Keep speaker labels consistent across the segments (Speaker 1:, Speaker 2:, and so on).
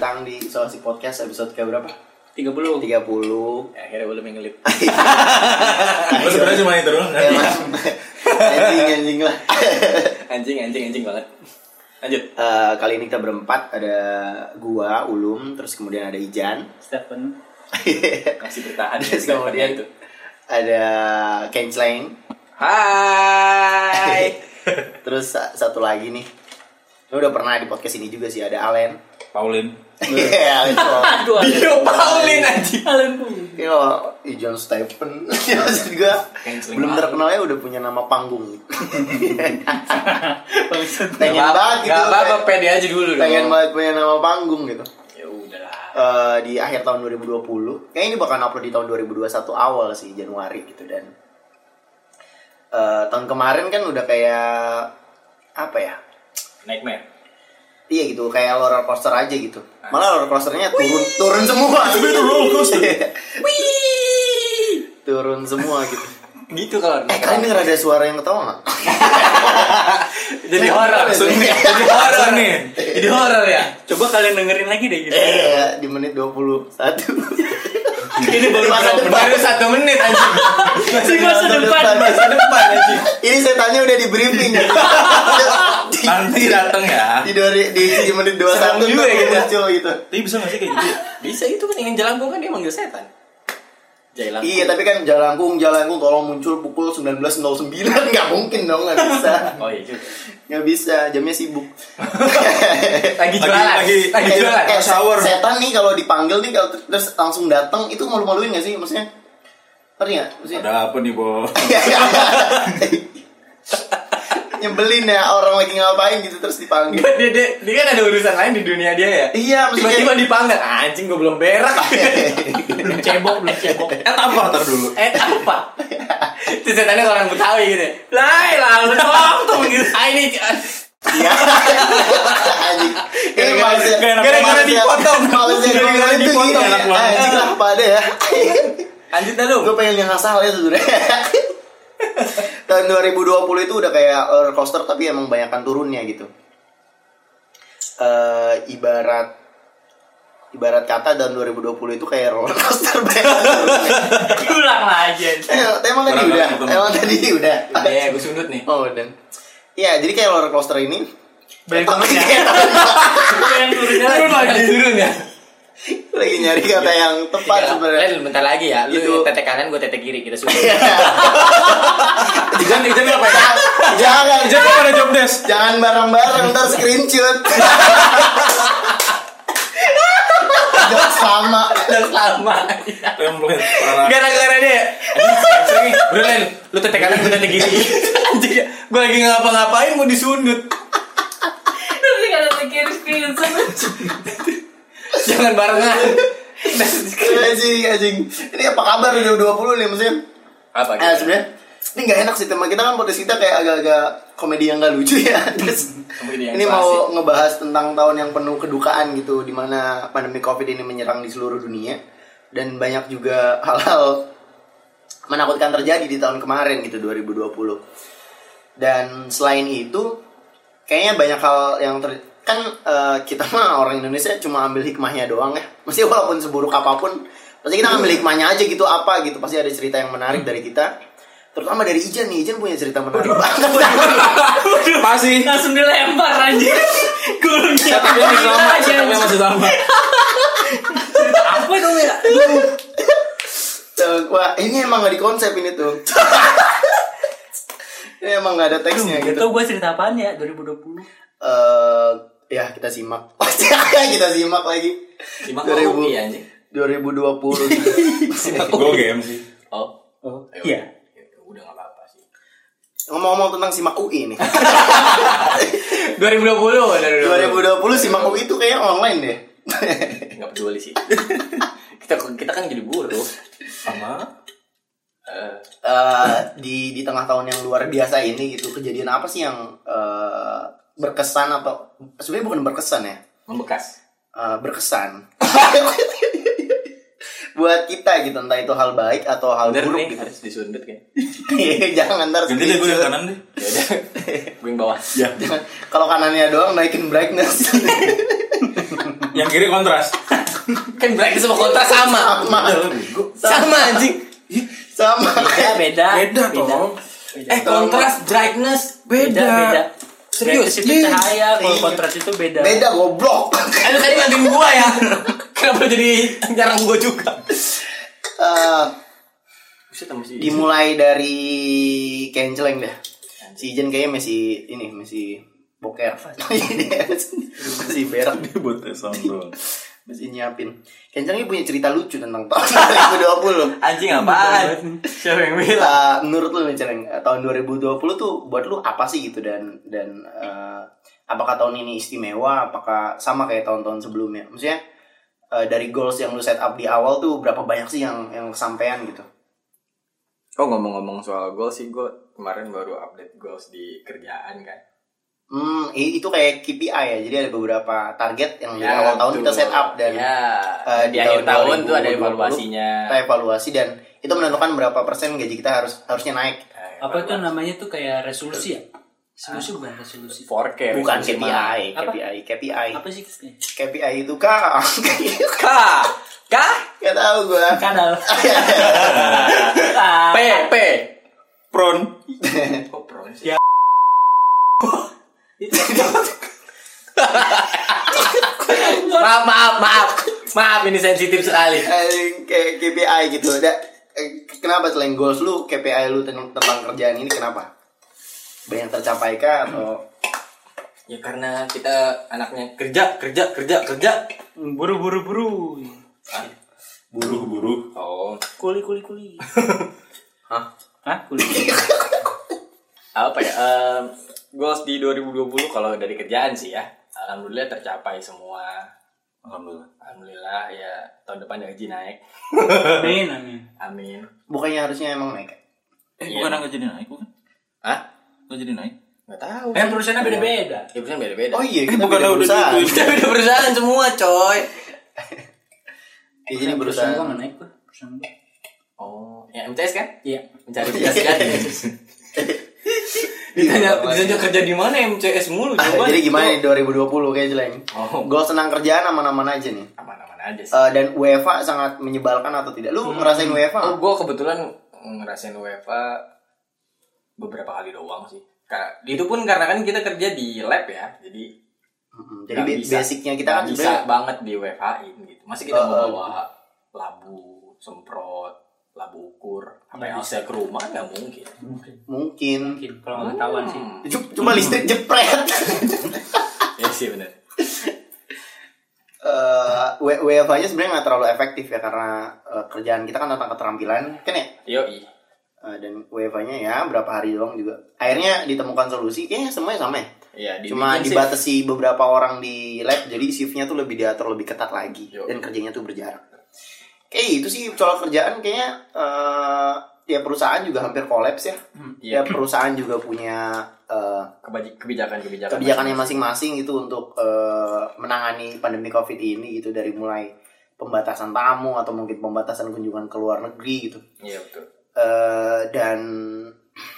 Speaker 1: isolasi podcast episode ke berapa?
Speaker 2: 30
Speaker 1: 30 puluh.
Speaker 2: Ya, akhirnya belum yang ngelit
Speaker 3: Lu sebenarnya cuma itu doang kan?
Speaker 1: Eh, anjing anjing lah.
Speaker 2: anjing anjing anjing banget lanjut
Speaker 1: Eh, kali ini kita berempat ada gua Ulum terus kemudian ada Ijan
Speaker 4: Stephen
Speaker 2: masih bertahan ya,
Speaker 1: terus
Speaker 2: Stefan
Speaker 1: kemudian
Speaker 2: itu
Speaker 1: ada Kenceleng
Speaker 2: hai
Speaker 1: terus sa- satu lagi nih ini udah pernah di podcast ini juga sih ada Alen
Speaker 3: Paulin.
Speaker 1: Iya, Alen Fong.
Speaker 4: aduh
Speaker 2: Bio Iya, Paulin anjing
Speaker 4: Alan pun
Speaker 1: Ini kalau Ijan Iya, Stephen maksud gua
Speaker 2: Canceling
Speaker 1: belum
Speaker 2: banget.
Speaker 1: terkenalnya udah punya nama panggung
Speaker 4: Bangsat.
Speaker 1: pengen banget gitu
Speaker 2: Gak apa-apa
Speaker 1: kayak-
Speaker 2: pede aja dulu dong
Speaker 1: pengen banget punya nama panggung gitu
Speaker 2: Ya udahlah
Speaker 1: Eh, di akhir tahun 2020 kayaknya ini bakal upload di tahun 2021 awal sih Januari gitu dan eh, tahun kemarin kan udah kayak apa ya
Speaker 2: Nightmare
Speaker 1: iya gitu kayak roller coaster aja gitu malah roller coasternya turun turun semua turun semua gitu
Speaker 2: Gitu kalau
Speaker 1: eh kalian denger ada suara yang ketawa nggak
Speaker 2: Jadi horor
Speaker 1: Sunyi.
Speaker 2: Jadi horor
Speaker 3: Sunyi.
Speaker 2: Jadi horor ya Coba kalian dengerin lagi deh gitu
Speaker 1: Eh, di menit 21
Speaker 2: Ini baru
Speaker 1: Masa
Speaker 2: berapa-
Speaker 1: depan.
Speaker 2: baru satu menit anjing
Speaker 4: Di masa depan
Speaker 2: Masa depan anjing
Speaker 1: ini setannya udah di briefing
Speaker 3: Nanti dateng ya.
Speaker 1: di dari di, di menit 21
Speaker 2: Serem juga
Speaker 1: tuh
Speaker 2: ya kita.
Speaker 1: muncul gitu
Speaker 3: Tapi bisa gak sih kayak gitu? ya?
Speaker 2: Bisa itu kan ingin jelangkung kan dia manggil setan Jalan
Speaker 1: Iya, tapi kan Jalangkung, Jalangkung tolong muncul pukul 19.09 nggak mungkin dong, nggak bisa.
Speaker 2: Oh iya juga
Speaker 1: Nggak bisa, jamnya sibuk.
Speaker 2: Lagi
Speaker 3: Lagi-
Speaker 2: jualan
Speaker 3: lagi-
Speaker 2: Lagi
Speaker 1: Kayak-
Speaker 2: jualan
Speaker 1: kayak
Speaker 3: rush hour.
Speaker 1: Setan nih kalau dipanggil nih kalau ter- terus langsung datang itu malu-maluin nggak sih maksudnya? Ngerti nggak? Maksudnya?
Speaker 3: Ada apa nih, Bo?
Speaker 1: Nyebelin ya orang lagi ngapain gitu terus dipanggil.
Speaker 2: dia, dia, dia kan ada urusan lain di dunia dia ya
Speaker 1: Iya, maksudnya-
Speaker 2: tiba-tiba dipanggil anjing gue belum berak
Speaker 4: belum cebok belum cebok
Speaker 3: Eh, apa? Ntar dulu.
Speaker 2: eh apa itu setannya orang betawi gitu lah lalu tolong tuh gitu ah ini
Speaker 1: Iya. Anjing. Ini
Speaker 2: Gara-gara-
Speaker 1: manusia-
Speaker 2: gara-gara
Speaker 1: manusia-
Speaker 2: dipotong.
Speaker 1: Manusia
Speaker 2: Gara-gara
Speaker 1: itu
Speaker 2: dipotong,
Speaker 1: gini ya.
Speaker 2: enak banget.
Speaker 1: Anjing lah pada ya.
Speaker 2: lanjut dah lu
Speaker 1: gue pengen yang asal ya sebenarnya tahun 2020 itu udah kayak roller coaster tapi emang banyakkan turunnya gitu Eh, ibarat ibarat kata tahun 2020 itu kayak roller coaster banyak turunnya.
Speaker 4: diulang lagi anjing.
Speaker 1: Eh, emang tadi
Speaker 3: Orang
Speaker 1: udah
Speaker 3: orang
Speaker 1: emang tadi udah
Speaker 2: Udah ya gue sundut nih
Speaker 1: oh dan Iya, jadi kayak roller coaster ini
Speaker 4: Banyak turunnya. Gua yang turunnya
Speaker 2: turun lagi turun ya
Speaker 1: lagi nyari kata yang tepat
Speaker 2: Iya.
Speaker 1: sebenarnya.
Speaker 2: Ren, bentar lagi ya lu
Speaker 1: Gitu.
Speaker 2: tetek kanan gue tetek kiri kita sundut
Speaker 1: Iya.
Speaker 3: Ijan, Ijan apa ya?
Speaker 1: jangan,
Speaker 3: Ijan apa ada job desk?
Speaker 1: jangan bareng-bareng ntar screenshot. Jangan sama.
Speaker 2: udah sama
Speaker 3: Template. parah.
Speaker 2: gara-gara dia Bro Ren lu tetek kanan gue tetek kiri anjing ya gue lagi ngapa-ngapain mau disundut
Speaker 4: Terus nggak ada kiri kiri
Speaker 2: jangan barengan
Speaker 1: anjing anjing ini apa kabar udah 20 nih mesin
Speaker 2: apa
Speaker 1: eh sebenarnya ini nggak enak sih tema kita kan podcast kita kayak agak-agak komedi yang nggak lucu ya terus
Speaker 2: Komedi yang
Speaker 1: ini mau ngebahas tentang tahun yang penuh kedukaan gitu dimana pandemi covid ini menyerang di seluruh dunia dan banyak juga hal-hal menakutkan terjadi di tahun kemarin gitu 2020 dan selain itu kayaknya banyak hal yang ter kan eh, kita mah orang Indonesia cuma ambil hikmahnya doang ya mesti walaupun seburuk apapun pasti kita ambil hikmahnya aja gitu apa gitu pasti ada cerita yang menarik dari kita terutama dari Ijan nih Ijan punya cerita menarik banget
Speaker 3: Pasti.
Speaker 4: langsung dilempar anjing gulungnya
Speaker 3: Tapi yang masih lama,
Speaker 4: Aja,
Speaker 3: tapi yang masih lama.
Speaker 4: apa dong ya
Speaker 1: Tuh, Eh, wah ini emang gak di konsep ini tuh ini emang gak ada teksnya
Speaker 4: itu
Speaker 1: gitu
Speaker 4: gue cerita apaan ya 2020
Speaker 1: Eh, ya kita simak kita simak lagi
Speaker 2: Simak
Speaker 1: Dari Bu.
Speaker 2: mau iya, anjing
Speaker 1: 2020
Speaker 3: Gue game sih.
Speaker 2: Oh,
Speaker 4: oh iya
Speaker 2: udah gak apa-apa sih.
Speaker 1: ngomong-ngomong tentang simak UI nih
Speaker 2: 2020 dari
Speaker 1: 2020 si Makom itu kayaknya online deh.
Speaker 2: Enggak Eh, peduli sih. kita kita kan jadi buruh.
Speaker 3: Sama.
Speaker 2: Eh,
Speaker 1: Eh, di di tengah tahun yang luar biasa ini gitu kejadian apa sih yang eh, berkesan atau sebenarnya bukan berkesan ya
Speaker 2: membekas.
Speaker 1: eh, berkesan buat kita gitu entah itu hal baik atau hal
Speaker 2: Bener
Speaker 1: buruk
Speaker 2: nih,
Speaker 1: gitu Iya,
Speaker 2: harus disundut kan.
Speaker 1: jangan ntar
Speaker 3: Ganti deh gue yang kanan deh.
Speaker 2: Ya udah. Gue yang bawah.
Speaker 3: Ya.
Speaker 1: kalau kanannya doang naikin brightness
Speaker 3: Yang kiri kontras.
Speaker 5: Kan black sama kontras sama.
Speaker 1: Sama.
Speaker 5: Sama anjing.
Speaker 1: Sama.
Speaker 4: Beda, beda.
Speaker 6: Beda, toh.
Speaker 5: Eh kontras brightness
Speaker 4: Beda, beda.
Speaker 5: Serius?
Speaker 4: Brightness itu
Speaker 5: Iya.
Speaker 4: cahaya, kalau kontras itu beda.
Speaker 1: Beda goblok.
Speaker 5: Eh lu tadi bantuin gua ya. Kenapa jadi nyarang gua juga?
Speaker 1: Eh,
Speaker 4: Buset, sama si-
Speaker 1: dimulai dari Kenceleng dah. Si Ijen kayaknya masih ini masih boker. masih berak
Speaker 6: Ini buat tes sound doang.
Speaker 1: masih nyiapin. Kenceleng ini punya cerita lucu tentang tahun 2020.
Speaker 4: Anjing apaan? Siapa yang
Speaker 2: Iya.
Speaker 4: bilang?
Speaker 1: Nah, menurut lu nih Celeng, eh, tahun 2020 tuh buat lu apa sih gitu dan dan eh, apakah tahun ini istimewa, apakah sama kayak tahun-tahun sebelumnya? Maksudnya eh, dari goals yang lu set up di awal tuh berapa banyak sih yang yang kesampaian gitu?
Speaker 2: Oh ngomong-ngomong soal goal sih gue kemarin baru update goals di kerjaan kan.
Speaker 1: Hmm, i- itu kayak KPI ya. Jadi ada beberapa target yang di
Speaker 2: Ya,
Speaker 1: awal tahun
Speaker 2: betul.
Speaker 1: kita set up dan
Speaker 2: ya,
Speaker 1: eh,
Speaker 2: di
Speaker 1: di tahun
Speaker 2: akhir tahun tuh ada
Speaker 1: 2020.
Speaker 2: evaluasinya.
Speaker 1: kita evaluasi dan itu menentukan berapa persen gaji kita harus harusnya naik.
Speaker 2: Eh,
Speaker 4: Apa tuh namanya tuh kayak resolusi ya? Resolusi bukan resolusi.
Speaker 2: Forecast.
Speaker 1: Bukan
Speaker 2: resolusi
Speaker 1: KPI,
Speaker 4: Apa?
Speaker 1: KPI, KPI.
Speaker 4: Apa sih Krisnya?
Speaker 1: KPI itu kak.
Speaker 5: K K
Speaker 1: Gak tau gue.
Speaker 4: Kanal.
Speaker 5: P P
Speaker 6: Pron.
Speaker 2: Kok prone sih?
Speaker 5: Maaf maaf maaf maaf ini sensitif sekali.
Speaker 1: Eh, Kayak KPI gitu. Da- eh, kenapa selain goals lu, KPI lu ten- tentang kerjaan ini kenapa? Banyak tercapai kah atau
Speaker 2: Ya karena kita anaknya kerja kerja kerja kerja.
Speaker 4: Buru buru buru.
Speaker 6: Buru-buru.
Speaker 2: Oh
Speaker 4: Kuli kuli kuli.
Speaker 2: Hah?
Speaker 4: Hah? Kuli.
Speaker 2: apa ya? em, goals di 2020 kalau dari kerjaan sih ya. Alhamdulillah tercapai semua.
Speaker 6: Alhamdulillah.
Speaker 2: Alhamdulillah ya tahun depan gaji naik.
Speaker 4: Amin amin.
Speaker 2: Amin.
Speaker 1: bukannya harusnya emang naik?
Speaker 6: Eh,
Speaker 2: Iya.
Speaker 6: bukan nggak jadi naik bukan?
Speaker 2: Hah?
Speaker 6: Nggak jadi naik?
Speaker 2: Gak tahu.
Speaker 4: Kan perusahaannya beda beda.
Speaker 2: Ya perusahaan beda-beda.
Speaker 1: Oh iya, kita
Speaker 6: bukan
Speaker 1: beda
Speaker 6: udah
Speaker 1: perusahaan.
Speaker 6: ditutup.
Speaker 2: gitu ya?
Speaker 5: Kita beda perusahaan semua coy.
Speaker 1: Ya, jadi
Speaker 4: perusahaan
Speaker 1: perusahaan
Speaker 4: gua nggak naik gua. Perusahaan gua.
Speaker 2: Oh, ya MTS kan?
Speaker 4: Iya.
Speaker 2: Mencari tugas kan?
Speaker 5: Ditanya ditanya kerja di mana MCS mulu
Speaker 1: Ah,
Speaker 5: coba.
Speaker 1: jadi gimana nih 2020 kayak jelek.
Speaker 2: Oh.
Speaker 1: Gol senang kerjaan aman-aman aja nih.
Speaker 2: Aman-aman aja sih.
Speaker 1: Eh, dan UEFA sangat menyebalkan atau tidak? Lu ngerasain UEFA?
Speaker 2: Oh,
Speaker 1: nggak?
Speaker 2: gue kebetulan ngerasain UEFA beberapa kali doang sih. Karena, itu pun karena kan kita kerja di lab ya, jadi
Speaker 1: Mm-mm. Hmm, Jadi
Speaker 2: nggak
Speaker 1: ba-
Speaker 2: bisa-
Speaker 1: basicnya kita kan
Speaker 2: nggak bisa
Speaker 1: sebenarnya
Speaker 2: banget di UEFA in gitu. Masih kita
Speaker 1: Oh,
Speaker 2: mau bawa labu, semprot, labu ukur, apa yang bisa ke rumah nggak mungkin. Hmm,
Speaker 1: mungkin.
Speaker 4: Mungkin kalau nggak ketahuan sih.
Speaker 1: Cu- Cuma listrik jepret.
Speaker 2: Ya sih benar.
Speaker 1: Eh, W- UEFA-nya sebenarnya nggak terlalu efektif ya karena eh, kerjaan kita kan tentang keterampilan, kan ya?
Speaker 2: Yoi.
Speaker 1: Eh, dan UEFA-nya ya berapa hari doang juga. Akhirnya ditemukan solusi, kayaknya semuanya sama ya.
Speaker 2: Iya, dibikin
Speaker 1: Cuma
Speaker 2: sih.
Speaker 1: dibatasi beberapa orang di lab, jadi shiftnya tuh lebih diatur lebih ketat lagi
Speaker 2: Yo.
Speaker 1: dan kerjanya tuh berjarak. Kayak itu sih soal kerjaan kayaknya eh ya perusahaan juga hampir kolaps ya. Ya
Speaker 2: Iya,
Speaker 1: perusahaan juga punya eh,
Speaker 2: kebaji- kebijakan-kebijakan.
Speaker 1: kebijakannya masing-masing itu untuk eh, menangani pandemi COVID ini gitu dari mulai pembatasan tamu atau mungkin pembatasan kunjungan ke luar negeri gitu.
Speaker 2: Iya betul.
Speaker 1: Eh, dan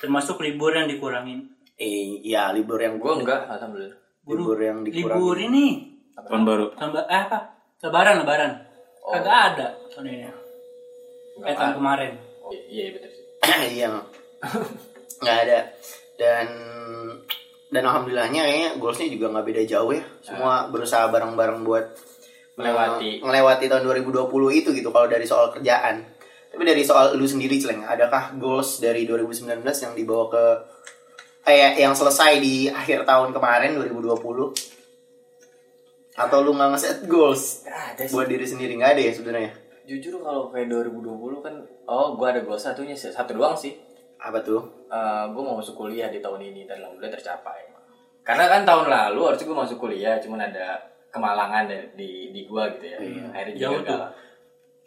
Speaker 4: Termasuk libur yang dikurangin.
Speaker 1: eh ya libur yang
Speaker 2: Gue enggak, alhamdulillah.
Speaker 1: libur
Speaker 4: Buru.
Speaker 1: yang dikurangin.
Speaker 4: Libur ini.
Speaker 6: Tahun baru.
Speaker 4: Tambah eh, apa? Lebaran lebaran. Kagak ada tahun ini. Eh tahun
Speaker 2: Enggak.
Speaker 4: kemarin.
Speaker 2: Oh, Iya, iya, betul sih.
Speaker 1: yang nggak ada dan dan alhamdulillahnya kayaknya goalsnya juga nggak beda jauh ya semua berusaha bareng-bareng buat
Speaker 2: Melewati.
Speaker 1: eh, melewati tahun 2020 itu gitu kalau dari soal kerjaan tapi dari soal lu sendiri celeng adakah goals dari 2019 yang dibawa ke eh yang selesai di akhir tahun kemarin 2020 atau lu nggak ngeset goals
Speaker 2: Ada sih.
Speaker 1: buat diri sendiri nggak ada ya sebenarnya
Speaker 2: Jujur kalau kayak 2020 kan, oh gue ada goal satunya sih, satu doang sih.
Speaker 1: apa tuh
Speaker 2: gue mau masuk kuliah di tahun ini dan alhamdulillah tercapai. Karena kan tahun lalu harusnya gue masuk kuliah, cuman ada kemalangan di di, di gue gitu ya. Akhirnya juga
Speaker 4: Iya. Jauh tuh.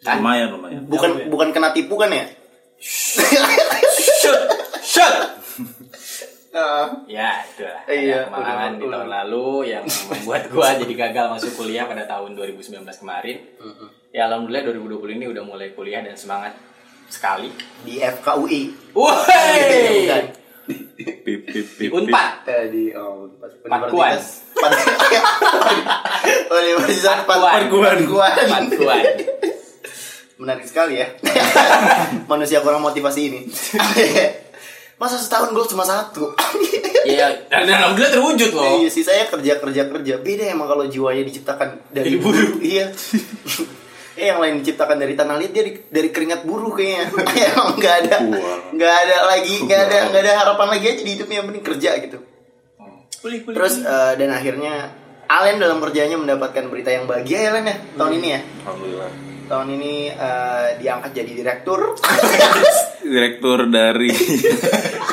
Speaker 2: gagal.
Speaker 6: Lumayan, lumayan.
Speaker 1: bukan bukan kena tipu kan ya
Speaker 5: Shut shut.
Speaker 1: Nah.
Speaker 2: Ya itulah.
Speaker 1: Iya,
Speaker 2: Ada kemalangan
Speaker 1: ulang,
Speaker 2: di tahun
Speaker 1: ulang.
Speaker 2: lalu yang membuat gue jadi gagal masuk kuliah pada tahun 2019 kemarin. Ya alhamdulillah 2020 ini udah mulai kuliah dan semangat sekali.
Speaker 1: di FKUI
Speaker 2: Woi.
Speaker 1: Iya, bukan
Speaker 6: Pip, pip,
Speaker 2: Di
Speaker 6: pip, pip.
Speaker 2: Unpad.
Speaker 1: Tadi oh pas
Speaker 2: Pakuan.
Speaker 1: Universitas- Oh, Universitas
Speaker 2: Pakuan.
Speaker 1: Pakuan. Pakuan.
Speaker 2: Pakuan.
Speaker 1: Menarik sekali ya. Manusia kurang motivasi ini. Masa setahun gol cuma satu.
Speaker 2: Iya,
Speaker 5: Dan dan alhamdulillah terwujud loh.
Speaker 6: Oh.
Speaker 1: Iya sih saya kerja kerja kerja. Beda emang kalau jiwanya diciptakan dari
Speaker 5: Dari buruh.
Speaker 1: buruh. Iya. Eh yang lain diciptakan dari tanah liat dia di- dari keringat buruh kayaknya. Emang nggak ada
Speaker 6: Wah.
Speaker 1: nggak ada lagi nggak ada nggak ada harapan lagi aja di hidupnya yang penting kerja gitu. Terus eh, dan akhirnya Allen dalam kerjanya mendapatkan berita yang bahagia ya Len ya tahun ini ya.
Speaker 6: Hmm. Alhamdulillah.
Speaker 1: Tahun ini eh, diangkat jadi direktur.
Speaker 6: Direktur dari.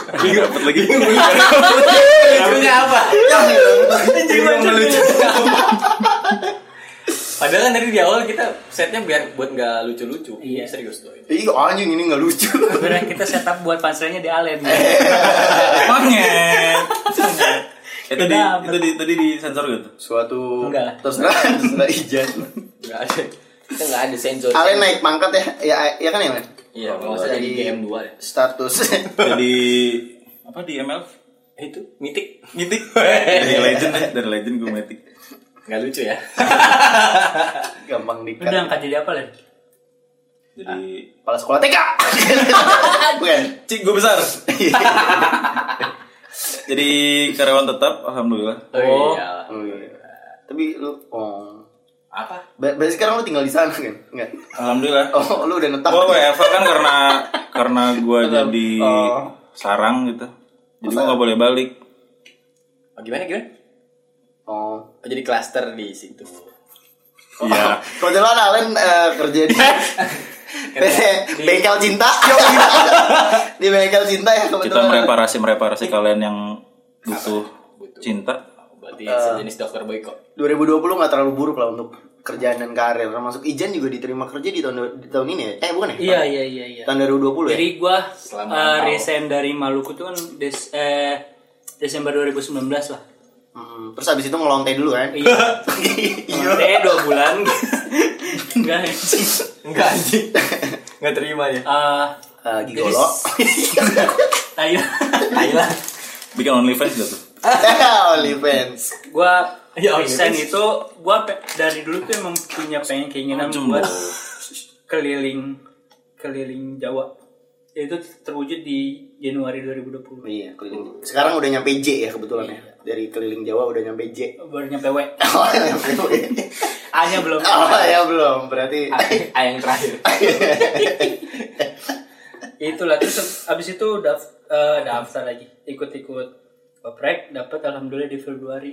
Speaker 6: Ini dapat lagi.
Speaker 5: Lucunya Eh, apa?
Speaker 2: Iya.
Speaker 6: Ini yang lucu.
Speaker 2: Padahal kan dari di awal kita setnya biar buat nggak lucu-lucu.
Speaker 4: Iya.
Speaker 2: serius loh.
Speaker 1: Ih
Speaker 2: ini.
Speaker 1: anjing ini nggak lucu.
Speaker 4: Sebenarnya kita setup buat pansernya di Allen.
Speaker 6: Manget. Itu di,
Speaker 4: Kenapa?
Speaker 6: itu di, Eh, tadi di sensor gitu.
Speaker 1: Suatu
Speaker 4: Enggak lah.
Speaker 1: terus terang terserah Ijan.
Speaker 2: Nggak ada. Kita nggak ada sensor.
Speaker 1: Allen naik pangkat ya ya, ya kan ya Len?
Speaker 2: Iya, kalau nggak salah jadi GM 2 ya.
Speaker 1: status
Speaker 6: Jadi apa di ML?
Speaker 2: Eh, Itu mitik.
Speaker 6: Mitik. Dari legend deh, dari legend gue mitik.
Speaker 2: Nggak lucu ya.
Speaker 1: gampang
Speaker 4: Lu udah
Speaker 1: dikat
Speaker 4: angkat jadi apa, Len?
Speaker 6: Jadi
Speaker 1: kepala sekolah TK bukan
Speaker 6: Ah. Cik, gue besar. Jadi karyawan tetap, alhamdulillah.
Speaker 2: Oh.
Speaker 1: Oh, iya. tapi lu oh
Speaker 2: Apa?
Speaker 1: Ber- berarti sekarang lu tinggal di sana kan enggak
Speaker 6: Alhamdulillah.
Speaker 1: oh lu udah netap
Speaker 6: Gue WFH kan karena karena gue jadi
Speaker 1: Oh.
Speaker 6: sarang gitu. Jadi gue gak boleh balik.
Speaker 2: Oh, gimana gimana?
Speaker 1: oh
Speaker 2: Oh, jadi klaster di situ.
Speaker 6: Iya.
Speaker 1: kebetulan Alen eh, kerja di di bengkel cinta di bengkel cinta ya
Speaker 6: Kita
Speaker 1: kebetulan
Speaker 6: mereparasi mereparasi kalian yang butuh cinta.
Speaker 2: Oh, Berarti
Speaker 5: Eh.
Speaker 2: sejenis dokter boyko.
Speaker 1: 2020 nggak terlalu buruk lah untuk kerjaan dan karir termasuk Ijan juga diterima kerja di tahun di tahun ini ya eh bukan ya
Speaker 4: Iya, iya, iya, iya.
Speaker 1: tahun 2020 ya
Speaker 4: Jadi gua
Speaker 2: Selama enam
Speaker 4: eh,
Speaker 2: tahun.
Speaker 4: resign dari Maluku tuh kan des- eh, Desember 2019 lah.
Speaker 1: Hmm, terus abis itu ngelonte dulu kan
Speaker 4: Iya. Iya. dua bulan. Enggak. Eh, anjing.
Speaker 2: Enggak anjing. Enggak terima ya.
Speaker 4: Eh,
Speaker 1: Eh, gigolo
Speaker 4: ayo.
Speaker 2: Thailand.
Speaker 6: Bikin OnlyFans gitu.
Speaker 1: OnlyFans
Speaker 4: gua
Speaker 2: Ya, oke.
Speaker 4: resign itu gua pe- dari dulu tuh emang punya pengen keinginan
Speaker 6: Jumbo.
Speaker 4: buat keliling keliling Jawa. Itu terwujud di Januari 2020.
Speaker 1: Iya, keliling. Sekarang udah nyampe J ya kebetulan
Speaker 4: Iya.
Speaker 1: ya. Dari keliling Jawa udah nyampe J.
Speaker 4: Baru nyampe W.
Speaker 1: Oh, nyampe W.
Speaker 4: A-nya belum.
Speaker 1: Oh, ya belum. Berarti
Speaker 2: Ah, yang terakhir.
Speaker 4: Itulah terus abis itu daft- eh, daftar lagi ikut-ikut oprek dapat alhamdulillah di Februari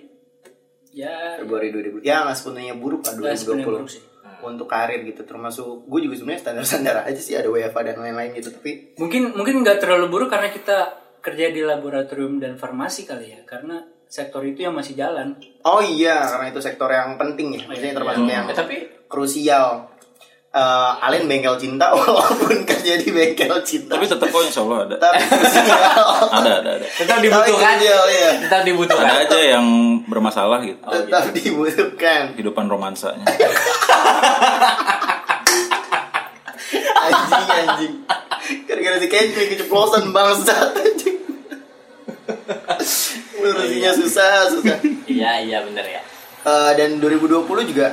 Speaker 4: ya
Speaker 1: Februari 2000. Ya, nggak sepenuhnya buruk lah
Speaker 4: Nggak sepenuhnya buruk sih. Hmm.
Speaker 1: 2020. Untuk karir gitu termasuk gue juga sebenarnya standar-standar aja sih ada WFA dan lain-lain gitu tapi
Speaker 4: mungkin mungkin nggak terlalu buruk karena kita kerja di laboratorium dan farmasi kali ya karena sektor itu yang masih jalan
Speaker 1: oh iya karena itu sektor yang
Speaker 4: Oh,
Speaker 1: penting ya
Speaker 4: iya.
Speaker 1: maksudnya termasuk yang
Speaker 2: Eh, tapi
Speaker 1: krusial Eh, Alen bengkel cinta walaupun kerja di bengkel cinta
Speaker 6: Tapi tetap kok insya Allah ada.
Speaker 1: tapi krusial
Speaker 6: Ada ada ada.
Speaker 2: tetap
Speaker 1: Tapi
Speaker 2: dibutuhkan.
Speaker 1: krusial, iya.
Speaker 2: Tetap dibutuhkan.
Speaker 6: Ada aja yang bermasalah gitu.
Speaker 1: tetap dibutuhkan
Speaker 6: Kehidupan romansanya.
Speaker 1: anjing anjing gara-gara si Kendrick keceplosan bangsat anjing ngurusinnya susah susah
Speaker 2: Iya, iya bener ya.
Speaker 1: Eh, dan 2020 juga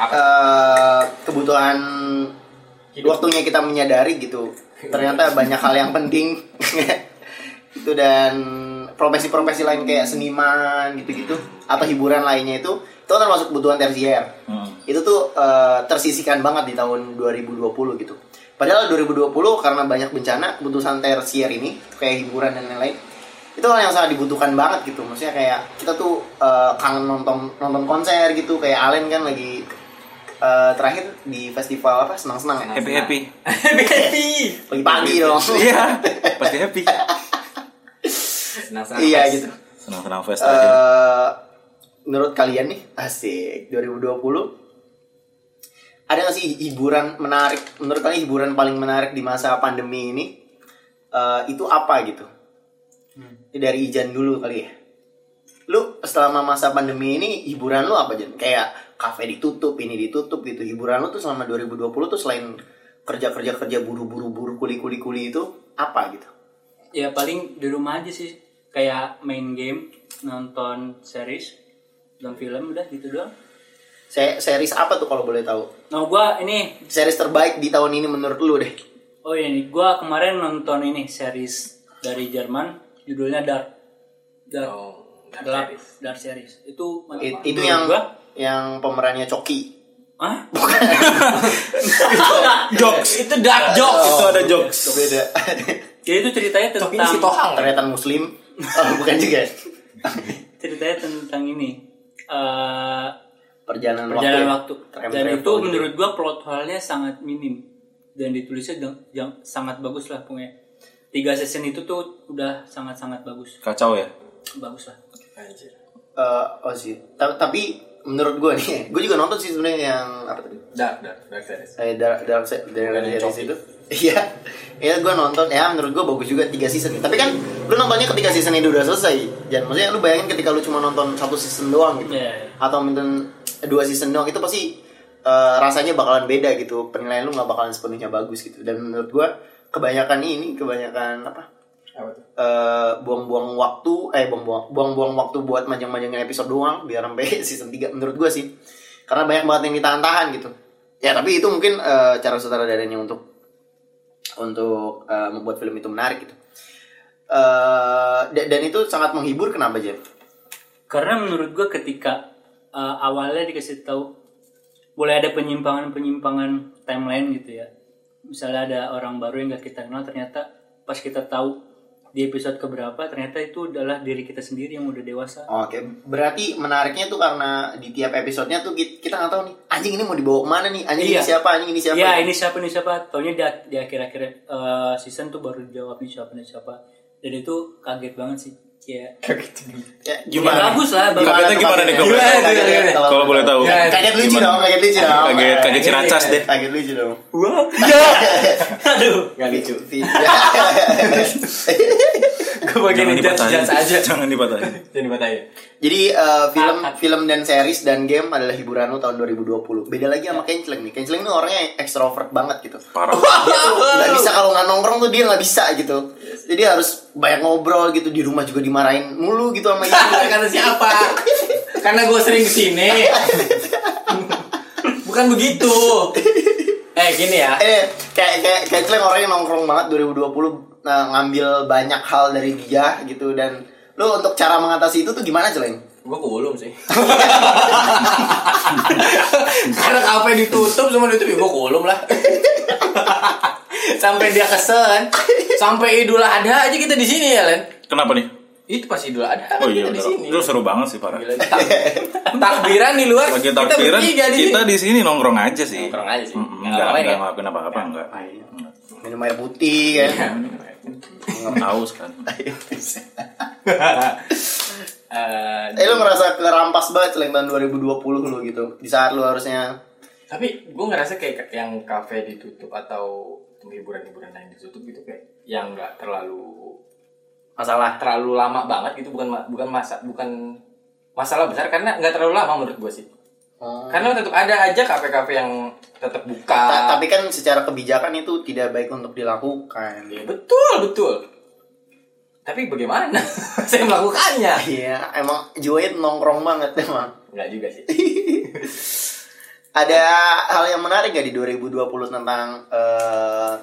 Speaker 2: Apa?
Speaker 1: eh, kebutuhan waktunya kita menyadari gitu ternyata banyak hal yang penting itu dan profesi-profesi lain kayak seniman gitu-gitu atau hiburan lainnya itu itu kan termasuk kebutuhan tersier
Speaker 6: Hmm.
Speaker 1: itu tuh eh, tersisihkan banget di tahun 2020 gitu. Padahal 2020 karena banyak bencana, keputusan tersier ini kayak hiburan dan lain-lain itu hal yang sangat dibutuhkan banget gitu. Maksudnya kayak kita tuh eh, kangen nonton nonton konser gitu kayak Allen kan lagi eh, terakhir di festival apa senang-senang ya.
Speaker 6: Happy happy.
Speaker 2: Happy.
Speaker 1: Pagi-pagi dong.
Speaker 6: Iya. Pasti happy.
Speaker 2: Senang-senang.
Speaker 1: iya
Speaker 2: fest.
Speaker 1: gitu.
Speaker 6: Senang senang fest aja.
Speaker 1: eh menurut kalian nih asik 2020 ada nggak sih hiburan menarik menurut kalian hiburan paling menarik di masa pandemi ini eh, itu apa gitu dari Ijan dulu kali ya lu selama masa pandemi ini hiburan lu apa Jan kayak kafe ditutup ini ditutup gitu hiburan lu tuh selama 2020 tuh selain kerja kerja kerja buru buru buru kuli kuli kuli itu apa gitu
Speaker 4: ya paling di rumah aja sih kayak main game nonton series nonton film udah gitu doang
Speaker 1: Se- series apa tuh kalau boleh tahu?
Speaker 4: nah gua ini
Speaker 1: Series terbaik di tahun ini menurut lu deh.
Speaker 4: oh ini gua kemarin nonton ini series dari Jerman judulnya Dark Dark
Speaker 2: Oh, Dark
Speaker 4: Gelap.
Speaker 2: Series.
Speaker 4: Dark series itu
Speaker 1: I-
Speaker 4: mantap.
Speaker 1: itu
Speaker 4: Menurut
Speaker 1: yang
Speaker 4: gua,
Speaker 1: yang pemerannya Coki.
Speaker 4: Hah?
Speaker 5: Jokes, itu dark jokes, itu ada jokes.
Speaker 1: Itu beda.
Speaker 4: Jadi itu ceritanya
Speaker 2: Tapi ini
Speaker 4: tentang
Speaker 2: si Tohang. kan?
Speaker 1: Ternyata muslim. Oh, bukan juga.
Speaker 4: ceritanya tentang ini eh
Speaker 1: Perjalanan,
Speaker 4: perjalanan
Speaker 1: waktu. ya?
Speaker 4: waktu,
Speaker 1: Time
Speaker 4: dan
Speaker 1: travel
Speaker 4: itu
Speaker 1: gitu.
Speaker 4: menurut gua plot hole-nya sangat minim dan ditulisnya jang- jang- sangat bagus lah punya tiga season itu tuh udah sangat sangat bagus
Speaker 6: Kacau ya?
Speaker 4: bagus lah
Speaker 2: Anjir.
Speaker 1: Eh, oh sih. Ta- tapi menurut gue nih, gue juga nonton sih sebenarnya yang apa tadi?
Speaker 2: Dark, dark, dark series.
Speaker 1: Eh, dark dark Se- Dark
Speaker 2: Bukan yang
Speaker 1: series
Speaker 2: Coki.
Speaker 1: itu. Iya. Iya gue nonton ya menurut gue bagus juga 3 season Tapi kan lu nontonnya ketika season itu udah selesai Dan maksudnya lu bayangin ketika lu cuma nonton satu season doang gitu
Speaker 4: Iya, iya.
Speaker 1: Atau nonton dua season doang itu pasti eh, rasanya bakalan beda gitu Penilaian lu gak bakalan sepenuhnya bagus gitu Dan menurut gue kebanyakan ini kebanyakan apa
Speaker 2: Apa tuh?
Speaker 1: eh, buang-buang waktu eh buang-buang buang-buang waktu buat manjang-manjangin episode doang biar sampai season 3 menurut gue sih karena banyak banget yang ditahan-tahan gitu ya tapi itu mungkin eh, cara sutradaranya untuk untuk eh, membuat film itu menarik gitu Eh, da- dan itu sangat menghibur kenapa Jeff?
Speaker 4: karena menurut gua ketika eh, awalnya dikasih tahu boleh ada penyimpangan penyimpangan timeline gitu ya misalnya ada orang baru yang gak kita kenal ternyata pas kita tahu di episode keberapa ternyata itu adalah diri kita sendiri yang udah dewasa
Speaker 1: Oke, berarti menariknya tuh karena di tiap episodenya tuh ki- kita nggak tahu nih anjing ini mau dibawa kemana nih anjing
Speaker 4: Iya.
Speaker 1: ini siapa anjing ini siapa Ya,
Speaker 4: Iya, ini siapa ini siapa? Taunya di, di akhir-akhir eh, season tuh baru dijawab nih siapa nih siapa. Dan itu kaget banget sih. Kayak
Speaker 1: Ya,
Speaker 4: Ya, bagus lah, bagus.
Speaker 1: Gimana,
Speaker 6: iya. Kagetnya Iya, gimana nih,
Speaker 1: tuh
Speaker 6: Goblok?
Speaker 1: kagetnya? Iya,
Speaker 2: Gimana, gimana, gimana?
Speaker 6: Kalau boleh tahu.
Speaker 2: Ya,
Speaker 1: Kaget lucu
Speaker 6: Iya, Gimana?
Speaker 1: dong, kaget lucu dong.
Speaker 6: Kaget, kaget ciracas deh.
Speaker 1: Kaget lucu dong.
Speaker 4: wah. Aduh.
Speaker 2: Gak lucu.
Speaker 1: gitu.
Speaker 5: Gue bagian
Speaker 6: Jangan
Speaker 5: ini judge
Speaker 6: dipatahin.
Speaker 5: judge aja.
Speaker 6: Jangan dipatahin.
Speaker 2: Jadi batain.
Speaker 1: Jadi eh, film film dan series dan game adalah hiburan lu tahun 2020. Beda lagi sama
Speaker 6: Iya.
Speaker 1: Kenceleng nih. Kenceleng ini orangnya ekstrovert banget gitu.
Speaker 6: Parah.
Speaker 1: Dia tuh nggak bisa kalau nggak nongkrong tuh dia nggak bisa gitu. Jadi harus banyak ngobrol gitu di rumah juga dimarahin mulu gitu sama ibu.
Speaker 2: Kata siapa? Karena gue sering kesini. Bukan begitu. Eh gini ya.
Speaker 1: eh kayak kayak kayak Celeng orang yang nongkrong banget 2020 nah, ngambil banyak hal dari dia gitu dan lu untuk cara mengatasi itu tuh gimana Celeng?
Speaker 2: Gue kulum sih. Karena kafe ditutup semua ditutup, gue kulum lah. sampai dia kesel kan. Sampai Idul Adha aja kita di sini ya, Len.
Speaker 6: Kenapa nih?
Speaker 2: Itu pas Idul Adha kan
Speaker 6: Oh iya,
Speaker 2: kita di
Speaker 6: bener.
Speaker 2: sini.
Speaker 6: itu seru banget sih parah.
Speaker 2: Gila, tak- takbiran di luar
Speaker 6: Lagi takbiran,
Speaker 2: bertiga di
Speaker 6: kita
Speaker 2: sini.
Speaker 6: di sini nongkrong aja sih.
Speaker 2: Nongkrong aja sih.
Speaker 6: Mm-mm,
Speaker 2: Nggak
Speaker 6: Nggak
Speaker 2: ngapain
Speaker 6: nggak
Speaker 2: ya?
Speaker 6: ngelakuin apa-apa nggak.
Speaker 1: Minum air putih kan.
Speaker 6: Nggak tahu kan.
Speaker 2: Eh,
Speaker 1: Eh lu ngerasa kerampas banget selain tahun 2020 lu gitu Di saat lu harusnya
Speaker 2: tapi gue ngerasa kayak yang kafe ditutup atau hiburan-hiburan lain ditutup gitu kayak yang nggak terlalu
Speaker 1: Masalah
Speaker 2: terlalu lama banget gitu bukan ma- bukan masa bukan masalah besar karena nggak terlalu lama menurut gue sih
Speaker 1: Oh.
Speaker 2: karena tetap ada aja kafe-kafe yang tetap buka
Speaker 1: Tapi kan secara kebijakan itu tidak baik untuk dilakukan
Speaker 2: Ya, betul betul tapi bagaimana saya melakukannya
Speaker 1: Iya emang Joey nongkrong banget emang
Speaker 2: nggak juga sih
Speaker 1: Ada hal yang menarik gak di 2020 tentang eh,